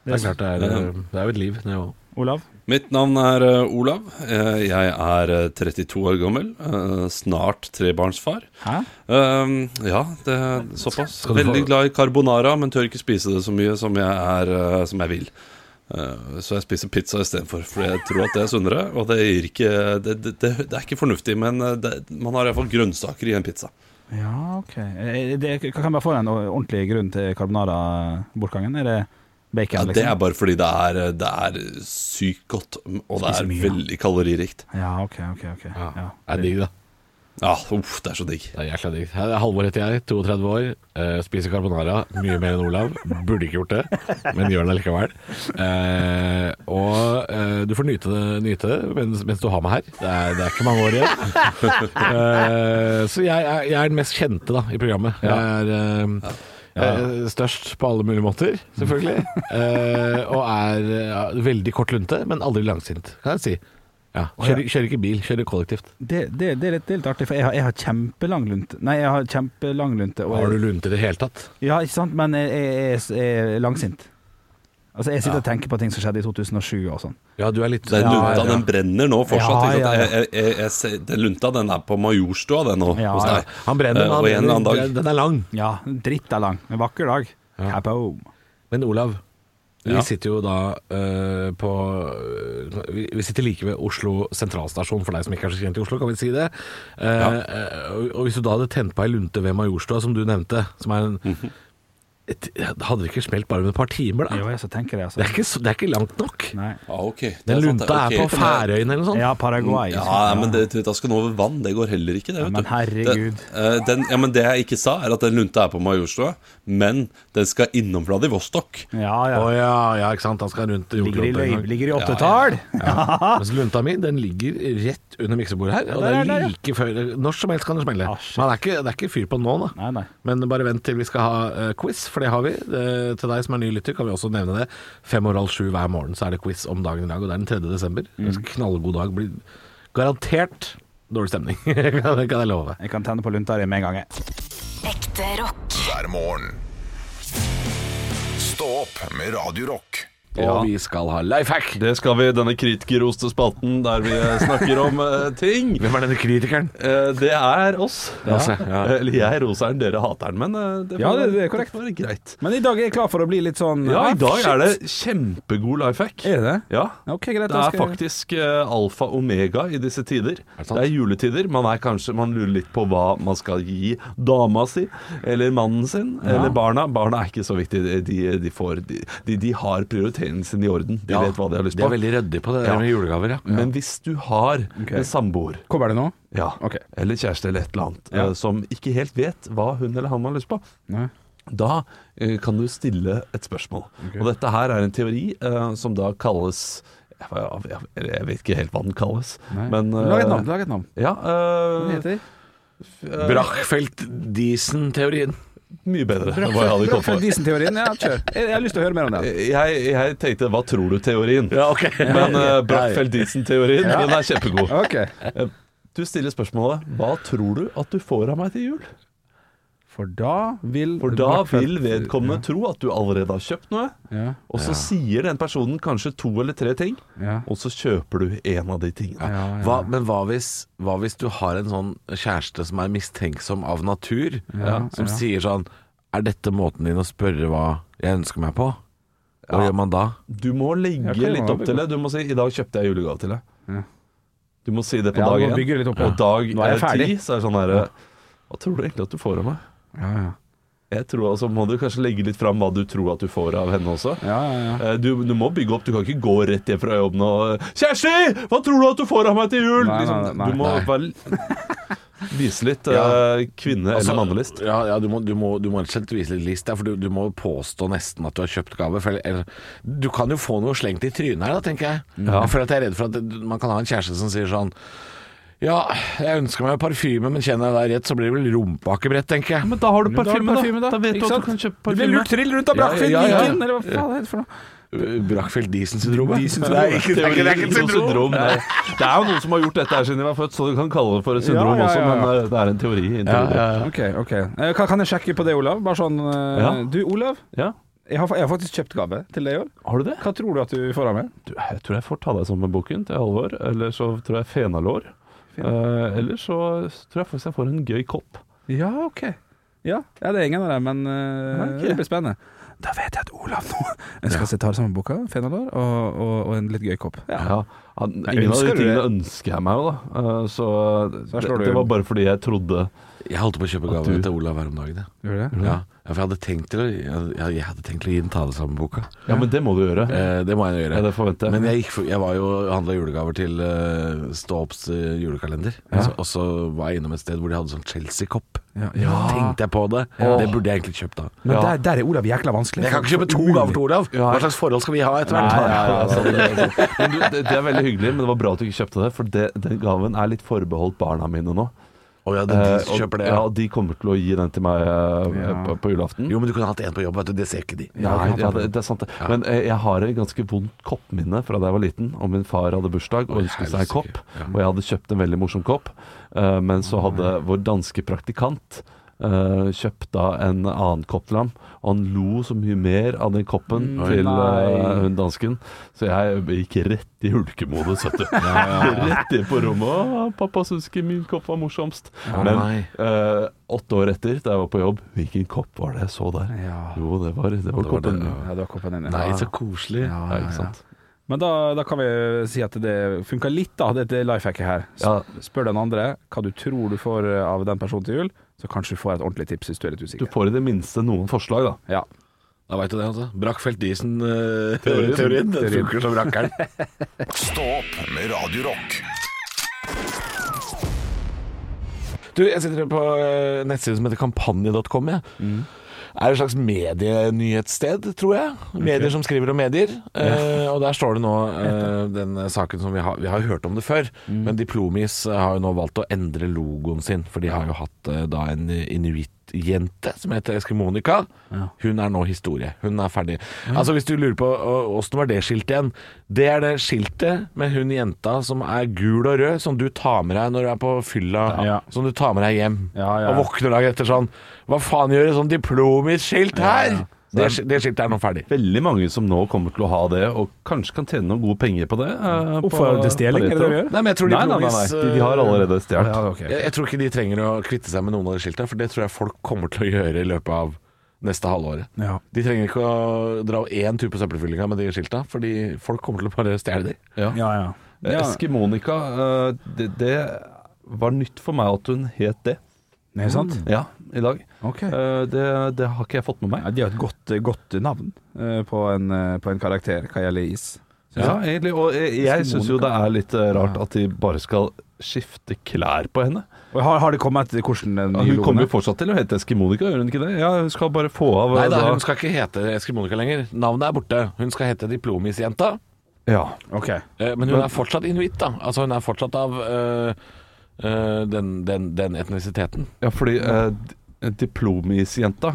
Speaker 5: Det er klart det er, eh, det er jo et liv, det òg.
Speaker 3: Olav?
Speaker 4: Mitt navn er eh, Olav. Eh, Jeg er eh, 32 år gammel. eh, Snart trebarnsfar.
Speaker 3: Hæ?
Speaker 6: Ehm,
Speaker 4: Um, ja, det er såpass.
Speaker 5: du få-
Speaker 4: Veldig glad i carbonara, men tør ikke spise det så mye som jeg, er, eh, som jeg vil.
Speaker 6: Eh, Så jeg spiser pizza istedenfor, for jeg tror at det er sunnere. Og det gir ikke Det, det, det, det er ikke fornuftig, men eh, det, man har iallfall grønnsaker i en pizza.
Speaker 3: Ja, OK. Eh, Det, kan kan jeg bare få en ordentlig grunn til carbonara-bortgangen? Er det
Speaker 6: Ja,
Speaker 3: bacon,
Speaker 6: det er
Speaker 3: liksom?
Speaker 6: bare fordi det er, eh, det er sykt godt, og det
Speaker 3: Spiser
Speaker 6: er
Speaker 3: mye, ja.
Speaker 6: veldig kaloririkt.
Speaker 3: Ja, OK, OK. ok ja.
Speaker 5: Det er digg, da.
Speaker 6: Ja, uff, det er så digg.
Speaker 5: Det er jækla digg. Her er Halvor heter jeg, 32 år. eh, spiser carbonara mye mer enn Olav. Burde ikke gjort det, men gjør det likevel. Eh, og eh, du får nyte det, nyte det mens, mens du har meg her. Det er, det er ikke mange år igjen. Eh, så jeg, er- jeg er den mest kjente da i programmet. Jeg er eh, eh, størst på alle mulige måter, selvfølgelig. Eh, og er ja, veldig kort lunte, men aldri langsint, kan jeg si. Ja, kjører, kjører ikke bil, kjører kollektivt.
Speaker 3: Det, det, det, er litt, det er litt artig, for jeg har, jeg har kjempelang lunte. Nei, jeg har kjempelang lunte. og-
Speaker 5: Har du lunte i det hele tatt?
Speaker 3: Ja, ikke sant, men jeg, jeg, jeg er langsint. Altså, jeg sitter og tenker på ting som skjedde i 2007 og sånn.
Speaker 5: Ja, du er litt
Speaker 6: Den
Speaker 5: Ja,
Speaker 6: lunta,
Speaker 5: ja.
Speaker 6: den brenner nå fortsatt.
Speaker 3: Ja,
Speaker 6: ikke sant?
Speaker 3: ja, ja.
Speaker 6: Jeg, jeg, jeg, ser- den lunta, den er på Majorstua, den nå,
Speaker 3: Ja,
Speaker 6: hos
Speaker 3: ja.
Speaker 6: deg.
Speaker 5: Han brenner,
Speaker 6: Eh,
Speaker 5: men
Speaker 6: og en eller
Speaker 5: han,
Speaker 6: annen dag.
Speaker 5: den, den er lang.
Speaker 3: Ja, dritt er lang. En vakker dag.
Speaker 5: Ja.
Speaker 3: Kaboom.
Speaker 5: Men Olav, vi
Speaker 6: Ja.
Speaker 5: sitter jo da eh, på eh, vi, vi sitter like ved Oslo sentralstasjon, for deg som ikke er så kjent i Oslo, kan vi si det. Eh, eh, og, og hvis du da hadde tent på ei lunte ved Majorstua, som du nevnte, som er en et, Hadde det ikke smelt bare med et par timer, da?
Speaker 3: Jo, jeg så tenker jeg,
Speaker 5: Det er
Speaker 3: altså.
Speaker 5: ikke, så- det er ikke langt nok.
Speaker 3: Nei.
Speaker 6: Ja, ok. Det
Speaker 5: Den
Speaker 6: sant,
Speaker 5: lunta
Speaker 6: ok.
Speaker 5: er på Færøyene eller noe sånt.
Speaker 3: Ja, Paraguay.
Speaker 6: Ja, men det, da skal den over vann. Det går heller ikke, det.
Speaker 3: Ja,
Speaker 6: vet
Speaker 3: men
Speaker 6: du.
Speaker 3: herregud.
Speaker 6: Det, eh, den, ja, men det jeg ikke sa, er at den lunta er på Majorstua, men den skal innom Vladivostok.
Speaker 3: Ja, ja.
Speaker 5: Å ja, ja, ikke sant. Han skal rundt
Speaker 3: Ligger i,
Speaker 5: jordkloden.
Speaker 3: løy- ligger i åttetall.
Speaker 5: Mens lunta mi den ligger rett under miksebordet her, og
Speaker 3: der er
Speaker 5: det
Speaker 3: den, ja.
Speaker 5: er like før Når som helst kan det smelle.
Speaker 3: Ah, shit.
Speaker 5: Men det er ikke, det er ikke fyr på den nå, da.
Speaker 3: Nei, nei.
Speaker 5: Men bare vent til vi skal ha eh, quiz, for det har vi. Eh, til deg som er ny lytter, kan vi også nevne det. Fem over halv sju hver morgen så er det quiz om dagen i dag, og det er den 3. desember.
Speaker 3: Mm.
Speaker 5: En knallgod dag. Blir garantert dårlig stemning. det kan jeg love.
Speaker 3: Jeg kan tenne på lunta di med en gang, jeg.
Speaker 2: Ekte rock.
Speaker 1: hver morgen. Stå opp med Radio Rock.
Speaker 5: Og vi skal ha life hack.
Speaker 4: Det skal vi i denne kritikerroste spalten der vi eh, snakker om eh, ting.
Speaker 5: Hvem er denne kritikeren?
Speaker 4: Eh, Det er oss.
Speaker 5: Lasse, ja.
Speaker 4: Eh, Eller jeg roser den, dere hater den, men eh, det får,
Speaker 3: Ja, det- det er korrekt.
Speaker 4: det får være greit.
Speaker 3: Men i dag er jeg klar for å bli litt sånn
Speaker 4: Ja, i dag er det
Speaker 3: shit.
Speaker 4: kjempegod life hack.
Speaker 3: Er det?
Speaker 4: Ja.
Speaker 3: Ok, greit.
Speaker 4: Det
Speaker 3: da
Speaker 4: er
Speaker 3: skal jeg-
Speaker 4: faktisk eh, alfa omega i disse tider.
Speaker 5: det
Speaker 4: Det,
Speaker 5: sant?
Speaker 4: er juletider. Man er kanskje Man lurer litt på hva man skal gi dama si, eller mannen sin, eller barna. Barna er ikke så viktig. De, de, får, de, de, de har prioriteringen sin i orden. De vet hva de har lyst
Speaker 5: De
Speaker 4: på.
Speaker 5: er veldig ryddige på det der
Speaker 4: Ja.
Speaker 5: med julegaver, ja.
Speaker 4: Men hvis du har en samboer
Speaker 3: Kommer det nå?
Speaker 4: ja,
Speaker 3: Ok.
Speaker 4: eller kjæreste eller et eller annet eh, som ikke helt vet hva hun eller han har lyst på,
Speaker 3: Nei.
Speaker 4: da eh, kan du stille et spørsmål. Og dette her er en teori eh, som da kalles jeg, jeg, jeg, jeg vet ikke helt hva den kalles, men eh,
Speaker 3: Lag et navn. Lag et navn.
Speaker 4: Ja,
Speaker 3: Hva
Speaker 4: eh,
Speaker 3: heter Eh.
Speaker 5: Brachfeldt-Diesen-teorien.
Speaker 4: mye bedre enn hva jeg hadde kommet på.
Speaker 3: Brødfødt-Disen-teorien? Ja, kjør. Jeg, jeg har lyst til å høre mer om den.
Speaker 4: Jeg, jeg tenkte 'hva tror du?'-teorien.
Speaker 5: Ja, ok.
Speaker 4: Men uh, Brachfeldt-Disen-teorien den er kjempegod.
Speaker 3: Ok.
Speaker 4: Du stiller spørsmålet 'hva tror du at du får av meg til jul'?
Speaker 3: For da vil
Speaker 4: For da
Speaker 3: Brødfødt-
Speaker 4: vil vedkommende tro at du allerede har kjøpt noe,
Speaker 3: Ja.
Speaker 4: og så sier den personen kanskje to eller tre ting,
Speaker 3: Ja.
Speaker 4: og så kjøper du en av de tingene.
Speaker 3: Ja, ja.
Speaker 5: Hva, men hva hvis, hva hvis du har en sånn kjæreste som er mistenksom av natur, som sier sånn Er dette måten din å spørre hva jeg ønsker meg på? Hva gjør man da?
Speaker 4: Du må legge
Speaker 3: ok,
Speaker 4: litt opp
Speaker 3: det
Speaker 4: til det. Du må si 'i dag kjøpte jeg julegave til deg'. Du må si det på
Speaker 3: Ja, du
Speaker 4: dag
Speaker 3: må
Speaker 4: én.
Speaker 3: bygge det litt opp, ja.
Speaker 4: Og dag
Speaker 3: Nå er jeg
Speaker 4: eh, ti,
Speaker 3: ferdig.
Speaker 4: så er det sånn herre Hva tror du egentlig at du får av meg?
Speaker 3: Ja, ja.
Speaker 4: Jeg tror altså, må du kanskje legge litt fram hva du tror at du får av henne også.
Speaker 3: Ja, ja, ja.
Speaker 4: Eh, Du, du må bygge opp. Du kan ikke gå rett hjem fra jobben og 'Kjersti, hva tror du at du får av meg til jul?'
Speaker 3: Nei,
Speaker 4: liksom,
Speaker 3: nei, nei,
Speaker 4: du må
Speaker 5: nei.
Speaker 4: bare vise litt
Speaker 5: Ja.
Speaker 4: eh, kvinne-
Speaker 5: Altså,
Speaker 4: eller mannelyst.
Speaker 5: Ja, ja du, må, du, må, du må rett og slett vise litt list, ja, for du, du må påstå nesten at du har kjøpt gave. For, eller, du kan jo få noe slengt i trynet her, da, tenker jeg. Jeg føler at jeg er redd for at det- man kan ha en kjæreste som sier sånn Ja, jeg ønsker meg parfyme, men kjenner jeg deg rett, så blir det vel rumpeakebrett, tenker jeg.
Speaker 4: Men da har du parfyme, da.
Speaker 3: parfyme, da.
Speaker 4: da. vet du
Speaker 3: Ikke
Speaker 4: at
Speaker 3: sant?
Speaker 4: du kan kjøpe
Speaker 3: Du blir
Speaker 4: parfyme.
Speaker 3: lurt trill rundt av Brachfeld
Speaker 5: Ja, ja, ja.
Speaker 3: Viken, eller hva faen er det for noe?
Speaker 5: Eh, Brachfeldt-Diesen-syndromet.
Speaker 3: Diesen-syndromet.
Speaker 5: Det er ikke- det er ikke- det er ikke et
Speaker 4: Teorien om
Speaker 5: syndrom.
Speaker 4: syndrom, nei. Det er jo noen som har gjort dette her siden de var født, så du kan kalle det for et syndrom
Speaker 3: Ja, ja, ja,
Speaker 4: også,
Speaker 3: ja.
Speaker 4: men eh, det er en teori. En
Speaker 5: Ja,
Speaker 4: teori.
Speaker 5: ja,
Speaker 4: Ja,
Speaker 5: ja.
Speaker 3: Ok, ok. Eh, Kan, kan jeg sjekke på det, Olav? Bare sånn eh,
Speaker 4: Ja.
Speaker 3: Du, Olav. Jeg har, fa- jeg har faktisk kjøpt gave til deg i år.
Speaker 4: Har du det?
Speaker 3: Hva tror du at du får av meg?
Speaker 4: Du, jeg tror jeg får ta deg sammen med boken til Halvor, eller så tror jeg fenalår. Eh, eller så tror jeg faktisk jeg får en gøy kopp.
Speaker 3: Ja, ok. Ja, ja det er ingen av dem, men eh,
Speaker 4: Nei, ok.
Speaker 3: det blir spennende. Da vet jeg at Olav nå ønsker seg tarsamboka, fenalår og, og, og en litt gøy kopp.
Speaker 8: Ja. Han- Ingen av de
Speaker 3: ønsker du
Speaker 8: tingene
Speaker 3: det?
Speaker 8: ønsker jeg meg jo, da. Eh, Så,
Speaker 3: Så her
Speaker 8: det,
Speaker 3: slår du-
Speaker 8: det var bare fordi jeg trodde
Speaker 5: Jeg holdt på å kjøpe
Speaker 8: du-
Speaker 5: gave til Olav her om dagen. jeg.
Speaker 3: Gjør du det?
Speaker 5: Ja, ja, for jeg hadde tenkt til å, jeg, jeg hadde tenkt til å gi den ta det samme boka.
Speaker 8: Ja, men det må du gjøre.
Speaker 5: Eh, det må jeg gjøre.
Speaker 8: Ja, det forventer jeg.
Speaker 5: Men jeg, gikk, for- jeg var jo handla julegaver til uh, Ståops eh, julekalender. Altså, og så var jeg innom et sted hvor de hadde sånn Chelsea-kopp.
Speaker 3: Ja. Ja.
Speaker 5: Tenkte jeg på det. Det burde jeg egentlig kjøpt da.
Speaker 3: Men
Speaker 8: Ja.
Speaker 3: der, der er Olav jækla vanskelig.
Speaker 5: Jeg kan ikke kjøpe to
Speaker 3: Umulig.
Speaker 5: gaver til Olav. Hva slags forhold skal vi ha etter hvert?
Speaker 8: altså, sånn- Men du, det, det er veldig hyggelig, men det var bra at du ikke kjøpte det. For det, den gaven er litt forbeholdt barna mine nå.
Speaker 5: Å ja, det er de
Speaker 8: Eh,
Speaker 5: som
Speaker 8: og-
Speaker 5: kjøper det.
Speaker 8: ja,
Speaker 5: Ja.
Speaker 8: de kommer til å gi den til meg eh, på, på julaften.
Speaker 5: Jo, men du kunne hatt en på jobb, vet du. Det ser ikke de.
Speaker 8: Nei, ja, det, det er sant det. Men eh, jeg har et ganske vondt koppminne fra da jeg var liten. Og min far hadde bursdag og ønsket seg en kopp. Og jeg hadde kjøpt en veldig morsom kopp. eh, men så hadde vår danske praktikant eh, kjøpt da en annen kopp til ham. Og han lo så mye mer av den koppen til eh, hun dansken. Så jeg gikk rett i hulkemodus, vet du. Rett inn på rommet. Å, pappa syns ikke min kopp var morsomst. Men
Speaker 5: nei.
Speaker 8: eh, åtte år etter, da jeg var på jobb, hvilken kopp var det jeg så der?
Speaker 3: Ja.
Speaker 8: Jo, det var, det var koppen.
Speaker 3: Ja, det var koppen din. ja.
Speaker 5: Nei, så koselig.
Speaker 3: Ja,
Speaker 8: Ja,
Speaker 3: ja,
Speaker 8: ikke
Speaker 3: ja.
Speaker 8: sant.
Speaker 3: Men da, da kan vi si at det funka litt, da, dette life hacket her. S-
Speaker 8: Ja.
Speaker 3: Spør den andre hva du tror du får eh, av den personen til jul, så kanskje du får et ordentlig tips hvis du er litt
Speaker 8: Du
Speaker 3: usikker.
Speaker 8: får i det minste noen forslag, da.
Speaker 3: Ja.
Speaker 5: Da veit du det, altså. Brackfeldt-Diesen-teorien. den
Speaker 3: Teorien.
Speaker 5: funker som rakkeren.
Speaker 1: Stå opp med Radio Rock.
Speaker 5: Du, jeg sitter på eh, nettsiden som heter kampanje.com. Jeg. Er et slags medienyhetssted, tror jeg. Medier som skriver om medier. Eh, og der står det nå eh, den saken som vi har Vi har jo hørt om det før, men Diplomis eh, har jo nå valgt å endre logoen sin. For de har jo hatt eh, da en inuittjente som heter Eskimonika. Hun er nå historie. Hun er ferdig. Altså Hvis du lurer på å- åssen var det skiltet igjen Det er det skiltet med hun jenta som er gul og rød, som du tar med deg når du er på fylla.
Speaker 3: Ja.
Speaker 5: Som du tar med deg hjem.
Speaker 3: Ja, ja.
Speaker 5: Og våkner dagen etter sånn Hva faen gjør et sånn diplomisk-skilt her? Det, sk- det skiltet er nå ferdig.
Speaker 8: Veldig mange som nå kommer til å ha det, og kanskje kan tjene noen gode penger på det. eh,
Speaker 3: Hvorfor
Speaker 8: på-
Speaker 3: det stjeling,
Speaker 8: på
Speaker 3: er det
Speaker 8: retro.
Speaker 3: det vi gjør?
Speaker 5: Nei, men jeg tror
Speaker 8: Nei, nei, nei, nei.
Speaker 5: Diplomis,
Speaker 8: De, de har allerede stjålet.
Speaker 3: eh, Ja, ok.
Speaker 5: Jeg, jeg tror ikke de trenger å kvitte seg med noen av de skiltene, for det tror jeg folk kommer til å gjøre i løpet av neste halvåret.
Speaker 3: Ja.
Speaker 5: De trenger ikke å dra én tur på søppelfyllinga med de skilta, fordi folk kommer til å bare stjele de.
Speaker 3: Ja, ja.
Speaker 8: Eh, Eskimonika, eh, det, det var nytt for meg at hun het det. Mm.
Speaker 3: Nei, sant?
Speaker 8: Ja, i dag.
Speaker 3: Ok.
Speaker 8: Eh, det, det har ikke jeg fått med meg.
Speaker 3: Ja, de har et godt, godt navn eh, på en, eh, på en karakter hva gjelder is.
Speaker 8: Ja, egentlig. Og jeg, jeg syns jo det er litt eh, rart at de bare skal skifte klær på henne.
Speaker 3: Og har, har det kommet hvordan den
Speaker 8: Ja,
Speaker 3: nye
Speaker 8: Hun
Speaker 3: logoen
Speaker 8: kommer jo
Speaker 3: er?
Speaker 8: fortsatt til å hete Eskimonika, gjør hun ikke det? Ja, hun skal bare få av eh,
Speaker 5: Nei da,
Speaker 8: da-
Speaker 5: hun skal ikke hete Eskimonika lenger. Navnet er borte. Hun skal hete Diplomisjenta.
Speaker 8: ja.
Speaker 3: Ok.
Speaker 5: Eh, Men hun er fortsatt inuitt, da. Altså hun er fortsatt av eh, eh, den, den, den etnisiteten.
Speaker 8: Ja, fordi eh, d- diplomisjenta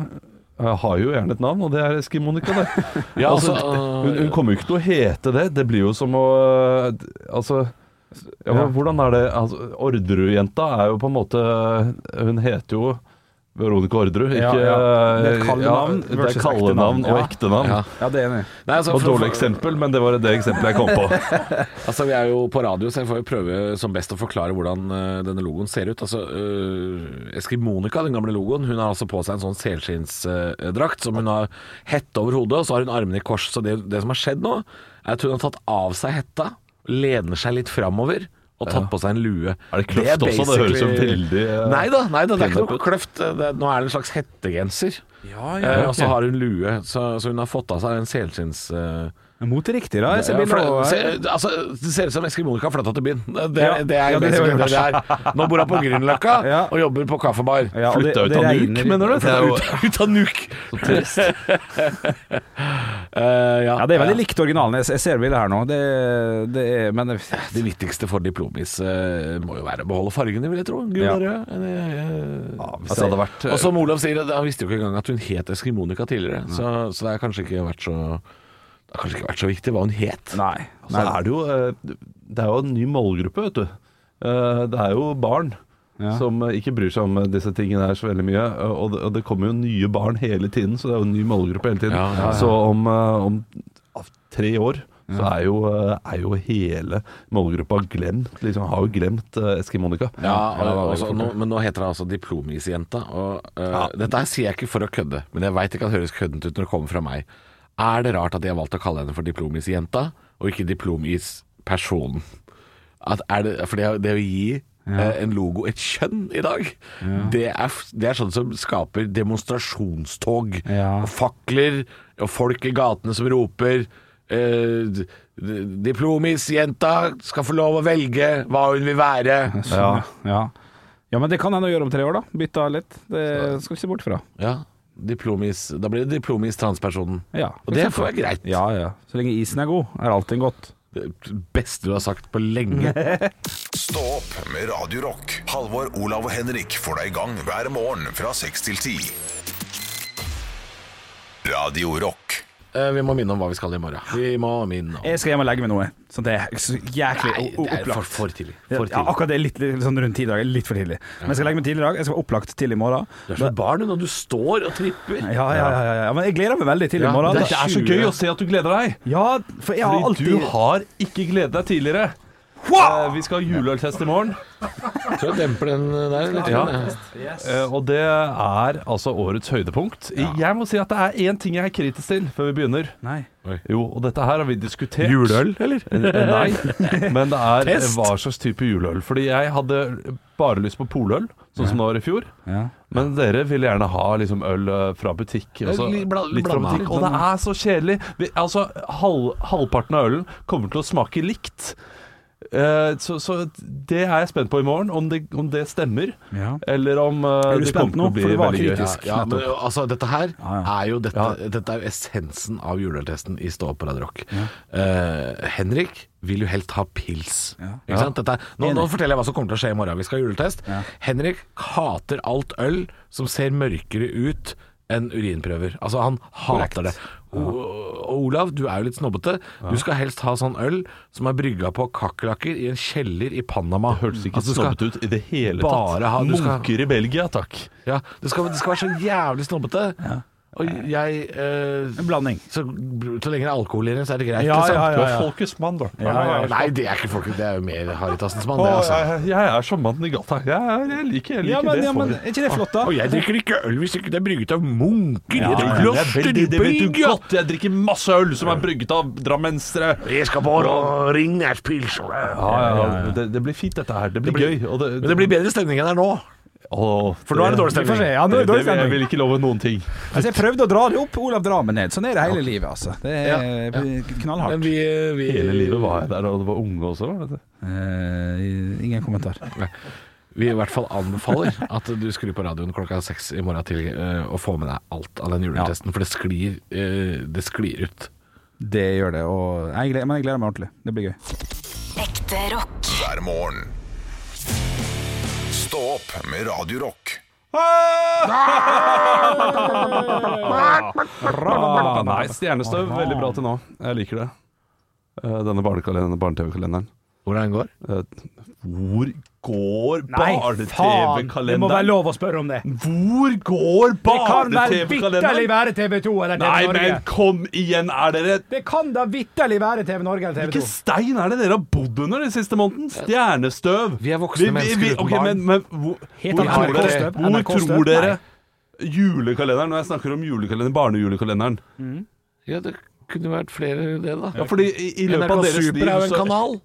Speaker 8: eh, har jo gjerne et navn, og det er Eskimonika, det.
Speaker 5: Ja,
Speaker 8: altså,
Speaker 5: altså, eh,
Speaker 8: hun, hun kommer jo ikke til å hete det. Det blir jo som å eh, d- Altså ja, men Hvordan er det altså, Orderud-jenta er jo på en måte Hun heter jo Veronica Orderud, ikke
Speaker 3: Ja, ja. Det er et
Speaker 8: eh, ja,
Speaker 3: kallenavn
Speaker 8: det er
Speaker 3: versus ektenavn.
Speaker 8: kallenavn og
Speaker 3: Ja.
Speaker 8: ekte navn.
Speaker 5: Ja.
Speaker 3: Ja, det er enig.
Speaker 5: Nei, altså,
Speaker 8: Og
Speaker 5: for-
Speaker 8: dårlig eksempel, men det var det eksempelet jeg kom på.
Speaker 5: Altså, Vi er jo på radio, så jeg får jo prøve som best å forklare hvordan eh, denne logoen ser ut. Altså, eh, Eskimonika, den gamle logoen, hun har altså på seg en sånn selskinnsdrakt som hun har hette over hodet, og så har hun armene i kors. Så det, det som har skjedd nå, er at hun har tatt av seg hetta, lener seg litt framover. Og tatt på seg en lue.
Speaker 8: Er det kløft også? Det høres jo veldig, eh,
Speaker 5: Nei da, nei da, det er ikke
Speaker 8: pin-up
Speaker 5: noe
Speaker 8: ut.
Speaker 5: kløft. Det, er- nå er det en slags hettegenser. Eh, og så har hun lue, så, så hun har fått av seg en selskinns... eh,
Speaker 3: Moteriktig, da. Jeg ser
Speaker 5: ja,
Speaker 3: bilder
Speaker 5: for,
Speaker 3: over her.
Speaker 5: ser, altså, det ser ut som Eskimonika har flytta til byen. Det, det,
Speaker 3: Ja.
Speaker 5: det er
Speaker 3: Ja, det er
Speaker 5: basically
Speaker 3: jo
Speaker 5: det det er. Nå bor han på Grünerløkka
Speaker 3: Ja.
Speaker 5: og jobber på kaffebar.
Speaker 3: Ja, og det-
Speaker 8: Flytta
Speaker 3: og
Speaker 8: ut
Speaker 3: det
Speaker 8: av Nuuk,
Speaker 3: regner-
Speaker 8: mener du? Det er jo
Speaker 5: Ut av Nuuk!
Speaker 8: så trist.
Speaker 5: Eh, ja.
Speaker 3: Ja, det er veldig likt originalen. Jeg- Jeg ser bildet her nå. Det, det er Men
Speaker 5: Ja, Det viktigste for diplomis eh, må jo være å beholde fargene, vil jeg tro. Gul
Speaker 3: Ja.
Speaker 5: og rød. Eh,
Speaker 8: hvis det hadde vært-
Speaker 5: Og som Olav sier, han visste jo ikke engang at hun het Eskimonika tidligere, så, så det har kanskje ikke vært så det har kanskje ikke vært så viktig hva hun het.
Speaker 3: Nei.
Speaker 8: Så er det jo eh, Det er jo en ny målgruppe, vet du. Eh, Det er jo barn som eh, ikke bryr seg om eh, disse tingene her så veldig mye. eh, Og det, og det kommer jo nye barn hele tiden, så det er jo en ny målgruppe hele tiden.
Speaker 5: Ja, ja, ja.
Speaker 8: Så om, eh, om av tre år så er jo, eh, er jo hele målgruppa glemt. Liksom har jo glemt eh, Eskimonica.
Speaker 5: Ja, og, også, nå, men nå heter det altså Diplomisjenta. Og, øh, Dette her sier jeg ikke for å kødde, men jeg veit det kan høres køddent ut når det kommer fra meg. Er det rart at de har valgt å kalle henne for Diplomisjenta, og ikke Diplomispersonen? At er det, for det, det å gi eh, en logo et kjønn i dag, det, er, f- det er sånn som skaper demonstrasjonstog.
Speaker 3: Ja.
Speaker 5: Og fakler, og folk i gatene som roper eh, d- d- Diplomisjenta skal få lov å velge hva hun vil være.
Speaker 3: Ja. ja. Ja, men det kan hende å gjøre om tre år, da. Bytte av litt. Det skal vi ikke se bort fra.
Speaker 5: Ja, diplomis Da blir det diplomis transpersonen
Speaker 3: Ja,
Speaker 5: Og det får være greit
Speaker 3: Ja, ja. Så lenge isen er god, er allting godt.
Speaker 5: Det beste du har sagt på lenge
Speaker 1: Stå opp med Radio Rock. Halvor, Olav og Henrik får deg i gang hver morgen fra 6 til 10. Radio Rock.
Speaker 5: Eh, Vi må minne om hva vi skal i morgen Vi må minne om
Speaker 3: Jeg skal hjem og legge meg noe. Så det er så jæklig
Speaker 5: Nei,
Speaker 3: o-
Speaker 5: det er for,
Speaker 3: opplagt.
Speaker 5: for tidlig
Speaker 3: Ja,
Speaker 5: For
Speaker 3: ja,
Speaker 5: tidlig
Speaker 3: akkurat det er litt, litt sånn rundt ti dager. Litt for tidlig. Men jeg skal legge meg tidlig i dag. Jeg skal være opplagt til i morgen.
Speaker 5: Du er som et barn du, når du står og tripper
Speaker 3: Ja, ja, ja, ja, ja. Men jeg gleder meg veldig til i
Speaker 5: Ja,
Speaker 3: morgen.
Speaker 5: det
Speaker 8: Det er så gøy å se at du gleder deg!
Speaker 3: Ja, for jeg har
Speaker 8: Fordi
Speaker 3: alltid
Speaker 8: du har ikke gledet deg tidligere. Eh, vi skal ha juleøltest i morgen,
Speaker 5: Jeg tror jeg demper den eh, der litt
Speaker 8: Ja.
Speaker 5: grann, jeg.
Speaker 8: eh, og det er altså årets høydepunkt. Jeg må si at det er én ting jeg er kritisk til før vi begynner.
Speaker 3: Nei.
Speaker 8: Jo, og dette her har vi diskutert.
Speaker 5: Juleøl, eller?
Speaker 8: Eh, Nei, men det er
Speaker 5: Test.
Speaker 8: hva slags type juleøl. Fordi jeg hadde bare lyst på poløl, sånn som det var i fjor.
Speaker 3: Ja.
Speaker 8: Men dere vil gjerne ha liksom øl eh, fra butikk. Og, så,
Speaker 5: Litt bla-
Speaker 8: litt fra
Speaker 5: blanda.
Speaker 8: butikk. og det er så kjedelig. Vi, altså, halv, halvparten av ølen kommer til å smake likt. Eh, så, så det er jeg spent på i morgen, om det, om det stemmer.
Speaker 3: Ja.
Speaker 8: Eller om eh,
Speaker 3: Er du
Speaker 8: det
Speaker 3: spent
Speaker 8: kommer til
Speaker 3: nå?
Speaker 8: å bli
Speaker 3: For det var
Speaker 8: veldig gøy.
Speaker 3: kritisk.
Speaker 5: Ja, men altså, dette her
Speaker 3: Ja,
Speaker 5: er jo dette,
Speaker 8: Ja.
Speaker 5: dette er jo essensen av juleøltesten i Stå opp på Radio Rock. Eh, Henrik vil jo helt ha pils. Ikke sant? Dette er, nå, nå forteller jeg hva som kommer til å skje i morgen. Vi skal ha juleøltest. Henrik hater alt øl som ser mørkere ut enn urinprøver. Altså, han hater det. O og Olav, du er jo litt snobbete. Du skal helst ha sånn øl som er brygga på kakerlakker i en kjeller i Panama.
Speaker 8: Det hørtes ikke
Speaker 5: Altså, du skal-
Speaker 8: snobbete ut i det hele
Speaker 5: bare ha-
Speaker 8: tatt.
Speaker 5: du skal-
Speaker 8: Munker i Belgia, takk.
Speaker 5: ja, det skal, det skal være så jævlig snobbete. Og jeg eh,
Speaker 3: En blanding.
Speaker 5: så, så lenge det er alkohol i den, så er det greit.
Speaker 3: Ja,
Speaker 5: liksom.
Speaker 3: ja,
Speaker 8: Du
Speaker 3: ja,
Speaker 8: er
Speaker 3: ja.
Speaker 8: folkets mann, da.
Speaker 5: Nei, det er ikke folket. Det er jo mer Haritassens mann,
Speaker 8: Å,
Speaker 5: det, altså.
Speaker 8: jeg, jeg er som mannen i gata. Jeg, er- jeg liker, jeg liker
Speaker 3: Ja, men,
Speaker 8: det.
Speaker 3: ja, men
Speaker 8: folket.
Speaker 3: er ikke det flott, da?
Speaker 5: Og jeg drikker ikke øl hvis ikke det er brygget av munker i
Speaker 3: Ja, ja,
Speaker 5: et
Speaker 8: Det er
Speaker 5: kloster i
Speaker 8: veldig, det vet du
Speaker 5: Belgia.
Speaker 8: godt. Jeg drikker masse øl som er brygget av drammensere.
Speaker 5: Jeg skal bare ha Ringnærspils.
Speaker 8: Ja, ja, ja. Det, det blir fint, dette her. Det blir, gøy. Og det,
Speaker 5: Men det blir bedre stemning enn det er nå.
Speaker 8: Å,
Speaker 5: For nå er det dårlig
Speaker 3: Vi får se.
Speaker 5: stemning.
Speaker 3: Ja, nå er det dårlig
Speaker 8: det- Jeg
Speaker 3: stemning.
Speaker 8: vil ikke love noen ting.
Speaker 3: Altså, jeg prøvde å dra det opp, Olav drar meg ned. Sånn er det hele livet, altså. Det er knallhardt.
Speaker 5: Men vi, vi,
Speaker 8: Hele livet var jeg der, og det var unge også. Vet du.
Speaker 3: Eh, ingen kommentar.
Speaker 5: vi i hvert fall anbefaler at du skrur på radioen klokka seks i morgen til eh, å få med deg alt av den juletesten, for det sklir, eh, det sklir ut.
Speaker 3: Det gjør det. Og jeg gleder, men jeg gleder meg ordentlig. Det blir gøy.
Speaker 2: Ekte rock.
Speaker 1: hver morgen. Stå opp med Radio Rock.
Speaker 8: Ah, nei, stjernestøv. Veldig bra til nå. Jeg liker det. Eh, Denne barnekalenderen, barne-TV-kalenderen.
Speaker 5: Hvordan går
Speaker 8: Eh, Hvor går
Speaker 3: Det må være
Speaker 8: barne-TV-kalenderen?
Speaker 3: lov å spørre om det.
Speaker 8: Hvor går
Speaker 3: Det kan vel vitterlig
Speaker 8: barne-TV-kalenderen?
Speaker 3: være TV 2 eller TV
Speaker 8: Nei,
Speaker 3: Norge.
Speaker 8: men kom igjen, er dere
Speaker 3: Det kan da vitterlig være TV Norge eller TV 2.
Speaker 8: Hvilken stein er det dere har bodd under den siste måneden? Stjernestøv.
Speaker 5: Vi er voksne mennesker uten
Speaker 8: ok,
Speaker 5: barn.
Speaker 8: Men, men hvor,
Speaker 3: Heter
Speaker 8: hvor tror
Speaker 5: NRK
Speaker 8: dere,
Speaker 3: støv?
Speaker 8: hvor
Speaker 3: NRK støv?
Speaker 8: tror dere julekalenderen Når jeg snakker om julekalenderen, barnejulekalenderen
Speaker 5: Ja, det kunne vært flere det, da.
Speaker 8: Ja, fordi i, i løpet av deres liv så
Speaker 5: kanal.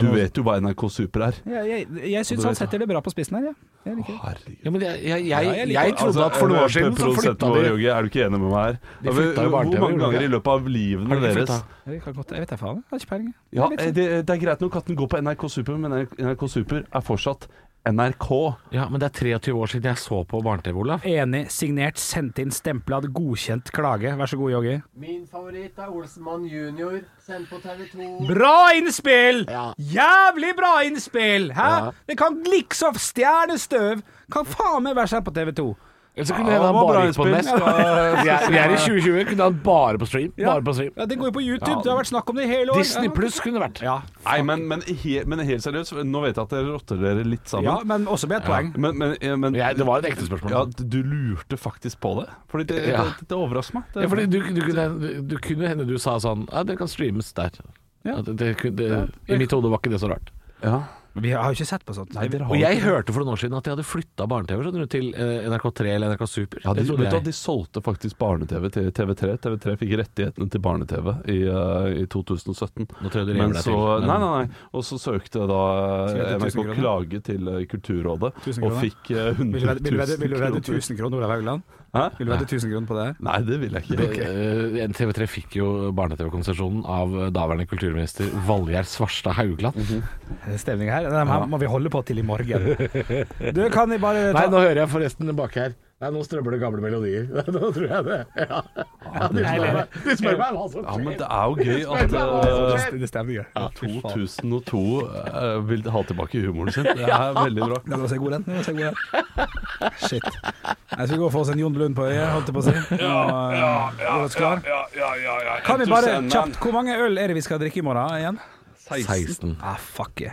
Speaker 8: Du vet jo hva NRK Super er.
Speaker 3: Ja, jeg jeg syns han setter det bra på spissen her, ja. jeg. liker det.
Speaker 5: Ja, men jeg, jeg, jeg,
Speaker 3: Ja, jeg
Speaker 5: jeg,
Speaker 3: liker-
Speaker 5: trodde
Speaker 8: Altså,
Speaker 5: at for noen år siden så flytta
Speaker 8: de
Speaker 5: de
Speaker 8: Er du ikke enig med meg her? Altså,
Speaker 5: De flytta jo
Speaker 8: Hvor
Speaker 5: barne-TV,
Speaker 8: mange
Speaker 5: gjorde de
Speaker 8: ganger i
Speaker 5: ikke?
Speaker 8: løpet av livene
Speaker 5: de
Speaker 8: deres
Speaker 5: flytta?
Speaker 3: Jeg kan godt- jeg vet da faen. Jeg har ikke peiling. jeg.
Speaker 8: Ja, eh,
Speaker 3: Jeg vet
Speaker 8: det,
Speaker 3: ikke.
Speaker 8: det er greit når katten går på NRK Super, men NRK Super er fortsatt NRK.
Speaker 5: Ja, men det er 23 år siden jeg så på Barne-TV, Olav.
Speaker 3: Enig, signert, sendt inn, stemplad, godkjent klage. Vær så god, Joggi.
Speaker 9: Min favoritt er Olsenmann junior, sendt på TV 2.
Speaker 3: Bra innspill!
Speaker 5: Ja.
Speaker 3: Jævlig bra innspill! Hæ?
Speaker 5: Ja.
Speaker 3: Det kan liksom stjernestøv. Kan faen meg være sendt på TV 2.
Speaker 5: Eller så
Speaker 8: Ja,
Speaker 5: kunne ja,
Speaker 8: det
Speaker 5: han
Speaker 8: var bra
Speaker 5: bare ut på
Speaker 8: innspill.
Speaker 5: Nest. Vi er, vi er i 2020, kunne han bare på stream. Bare på stream.
Speaker 3: Ja, det går jo på YouTube. Det har vært snakk om det i hele år.
Speaker 5: Disney pluss kunne det vært.
Speaker 3: Ja,
Speaker 8: Nei, men, men, he, men helt seriøst, nå vet jeg at dere rotter dere litt sammen.
Speaker 3: ja men også med et poeng.
Speaker 8: Men, men, ja, men
Speaker 5: Jeg- det var et ekte spørsmål.
Speaker 8: ja, du lurte faktisk på det? Fordi det,
Speaker 5: Ja.
Speaker 8: det, det overrasker meg. Det,
Speaker 5: Ja, fordi du, du, kunne, du kunne hende du sa sånn Ja, det kan streames der.
Speaker 3: Ja.
Speaker 5: At Det, det, kunne- det, I mitt hode var ikke det så rart.
Speaker 8: ja.
Speaker 3: Vi har jo ikke sett på sånt. Nei, vi
Speaker 5: Og jeg hørte for noen år siden at de hadde flytta barne-TV skjønner du, til eh, NRK3 eller NRK Super.
Speaker 8: Ja, de,
Speaker 5: det trodde
Speaker 8: vet du,
Speaker 5: jeg.
Speaker 8: at de solgte faktisk barne-TV til TV3. TV3 fikk rettighetene til barne-TV i, eh, i 2017.
Speaker 5: Nå tror jeg du river
Speaker 8: Men
Speaker 5: deg
Speaker 8: så,
Speaker 5: til, men-
Speaker 8: nei, nei, nei. Og så søkte da
Speaker 3: Så det
Speaker 8: eh,
Speaker 3: er
Speaker 8: NRK
Speaker 3: 1000 kroner?
Speaker 8: klage til eh, Kulturrådet,
Speaker 3: 1000
Speaker 8: og
Speaker 3: kroner?
Speaker 8: fikk eh, 100
Speaker 3: Vil du
Speaker 8: 000
Speaker 3: vedde- vil du vedde vil du vedde
Speaker 8: kroner.
Speaker 3: 1000 kroner, Olav Haugland?
Speaker 8: Hæ?
Speaker 3: Vil du vedde 1000 kroner på det?
Speaker 8: Nei, det vil jeg ikke.
Speaker 5: Eh, TV3 fikk jo barne-TV-konsesjonen av eh, daværende kulturminister Valgjerd Svarstad Haugland.
Speaker 8: Mhm.
Speaker 3: Det er Stemning her. Den her må vi holde på til i morgen. Du, kan jeg bare ta
Speaker 5: Nei, nå hører jeg forresten bak her. Nei, nå strømmer det gamle melodier. Nå tror jeg det. Ja. Ja, de, spør meg, de spør meg hva som
Speaker 8: Ja, men
Speaker 5: skjer.
Speaker 8: det er jo gøy at eh,
Speaker 3: Det er stemning her. Ja,
Speaker 8: 2002 eh, vil ha tilbake humoren sin. Det er veldig bra.
Speaker 3: Den var så god, den. den var så god, den. Shit. Jeg skal gå for oss en Jon Lund på øyet, holdt jeg på å si. eh, Ja, ja, ja, ja, Kan vi bare kjapt Hvor mange øl er det vi skal drikke i morgen igjen?
Speaker 5: 16.
Speaker 3: Ah, fuck yeah.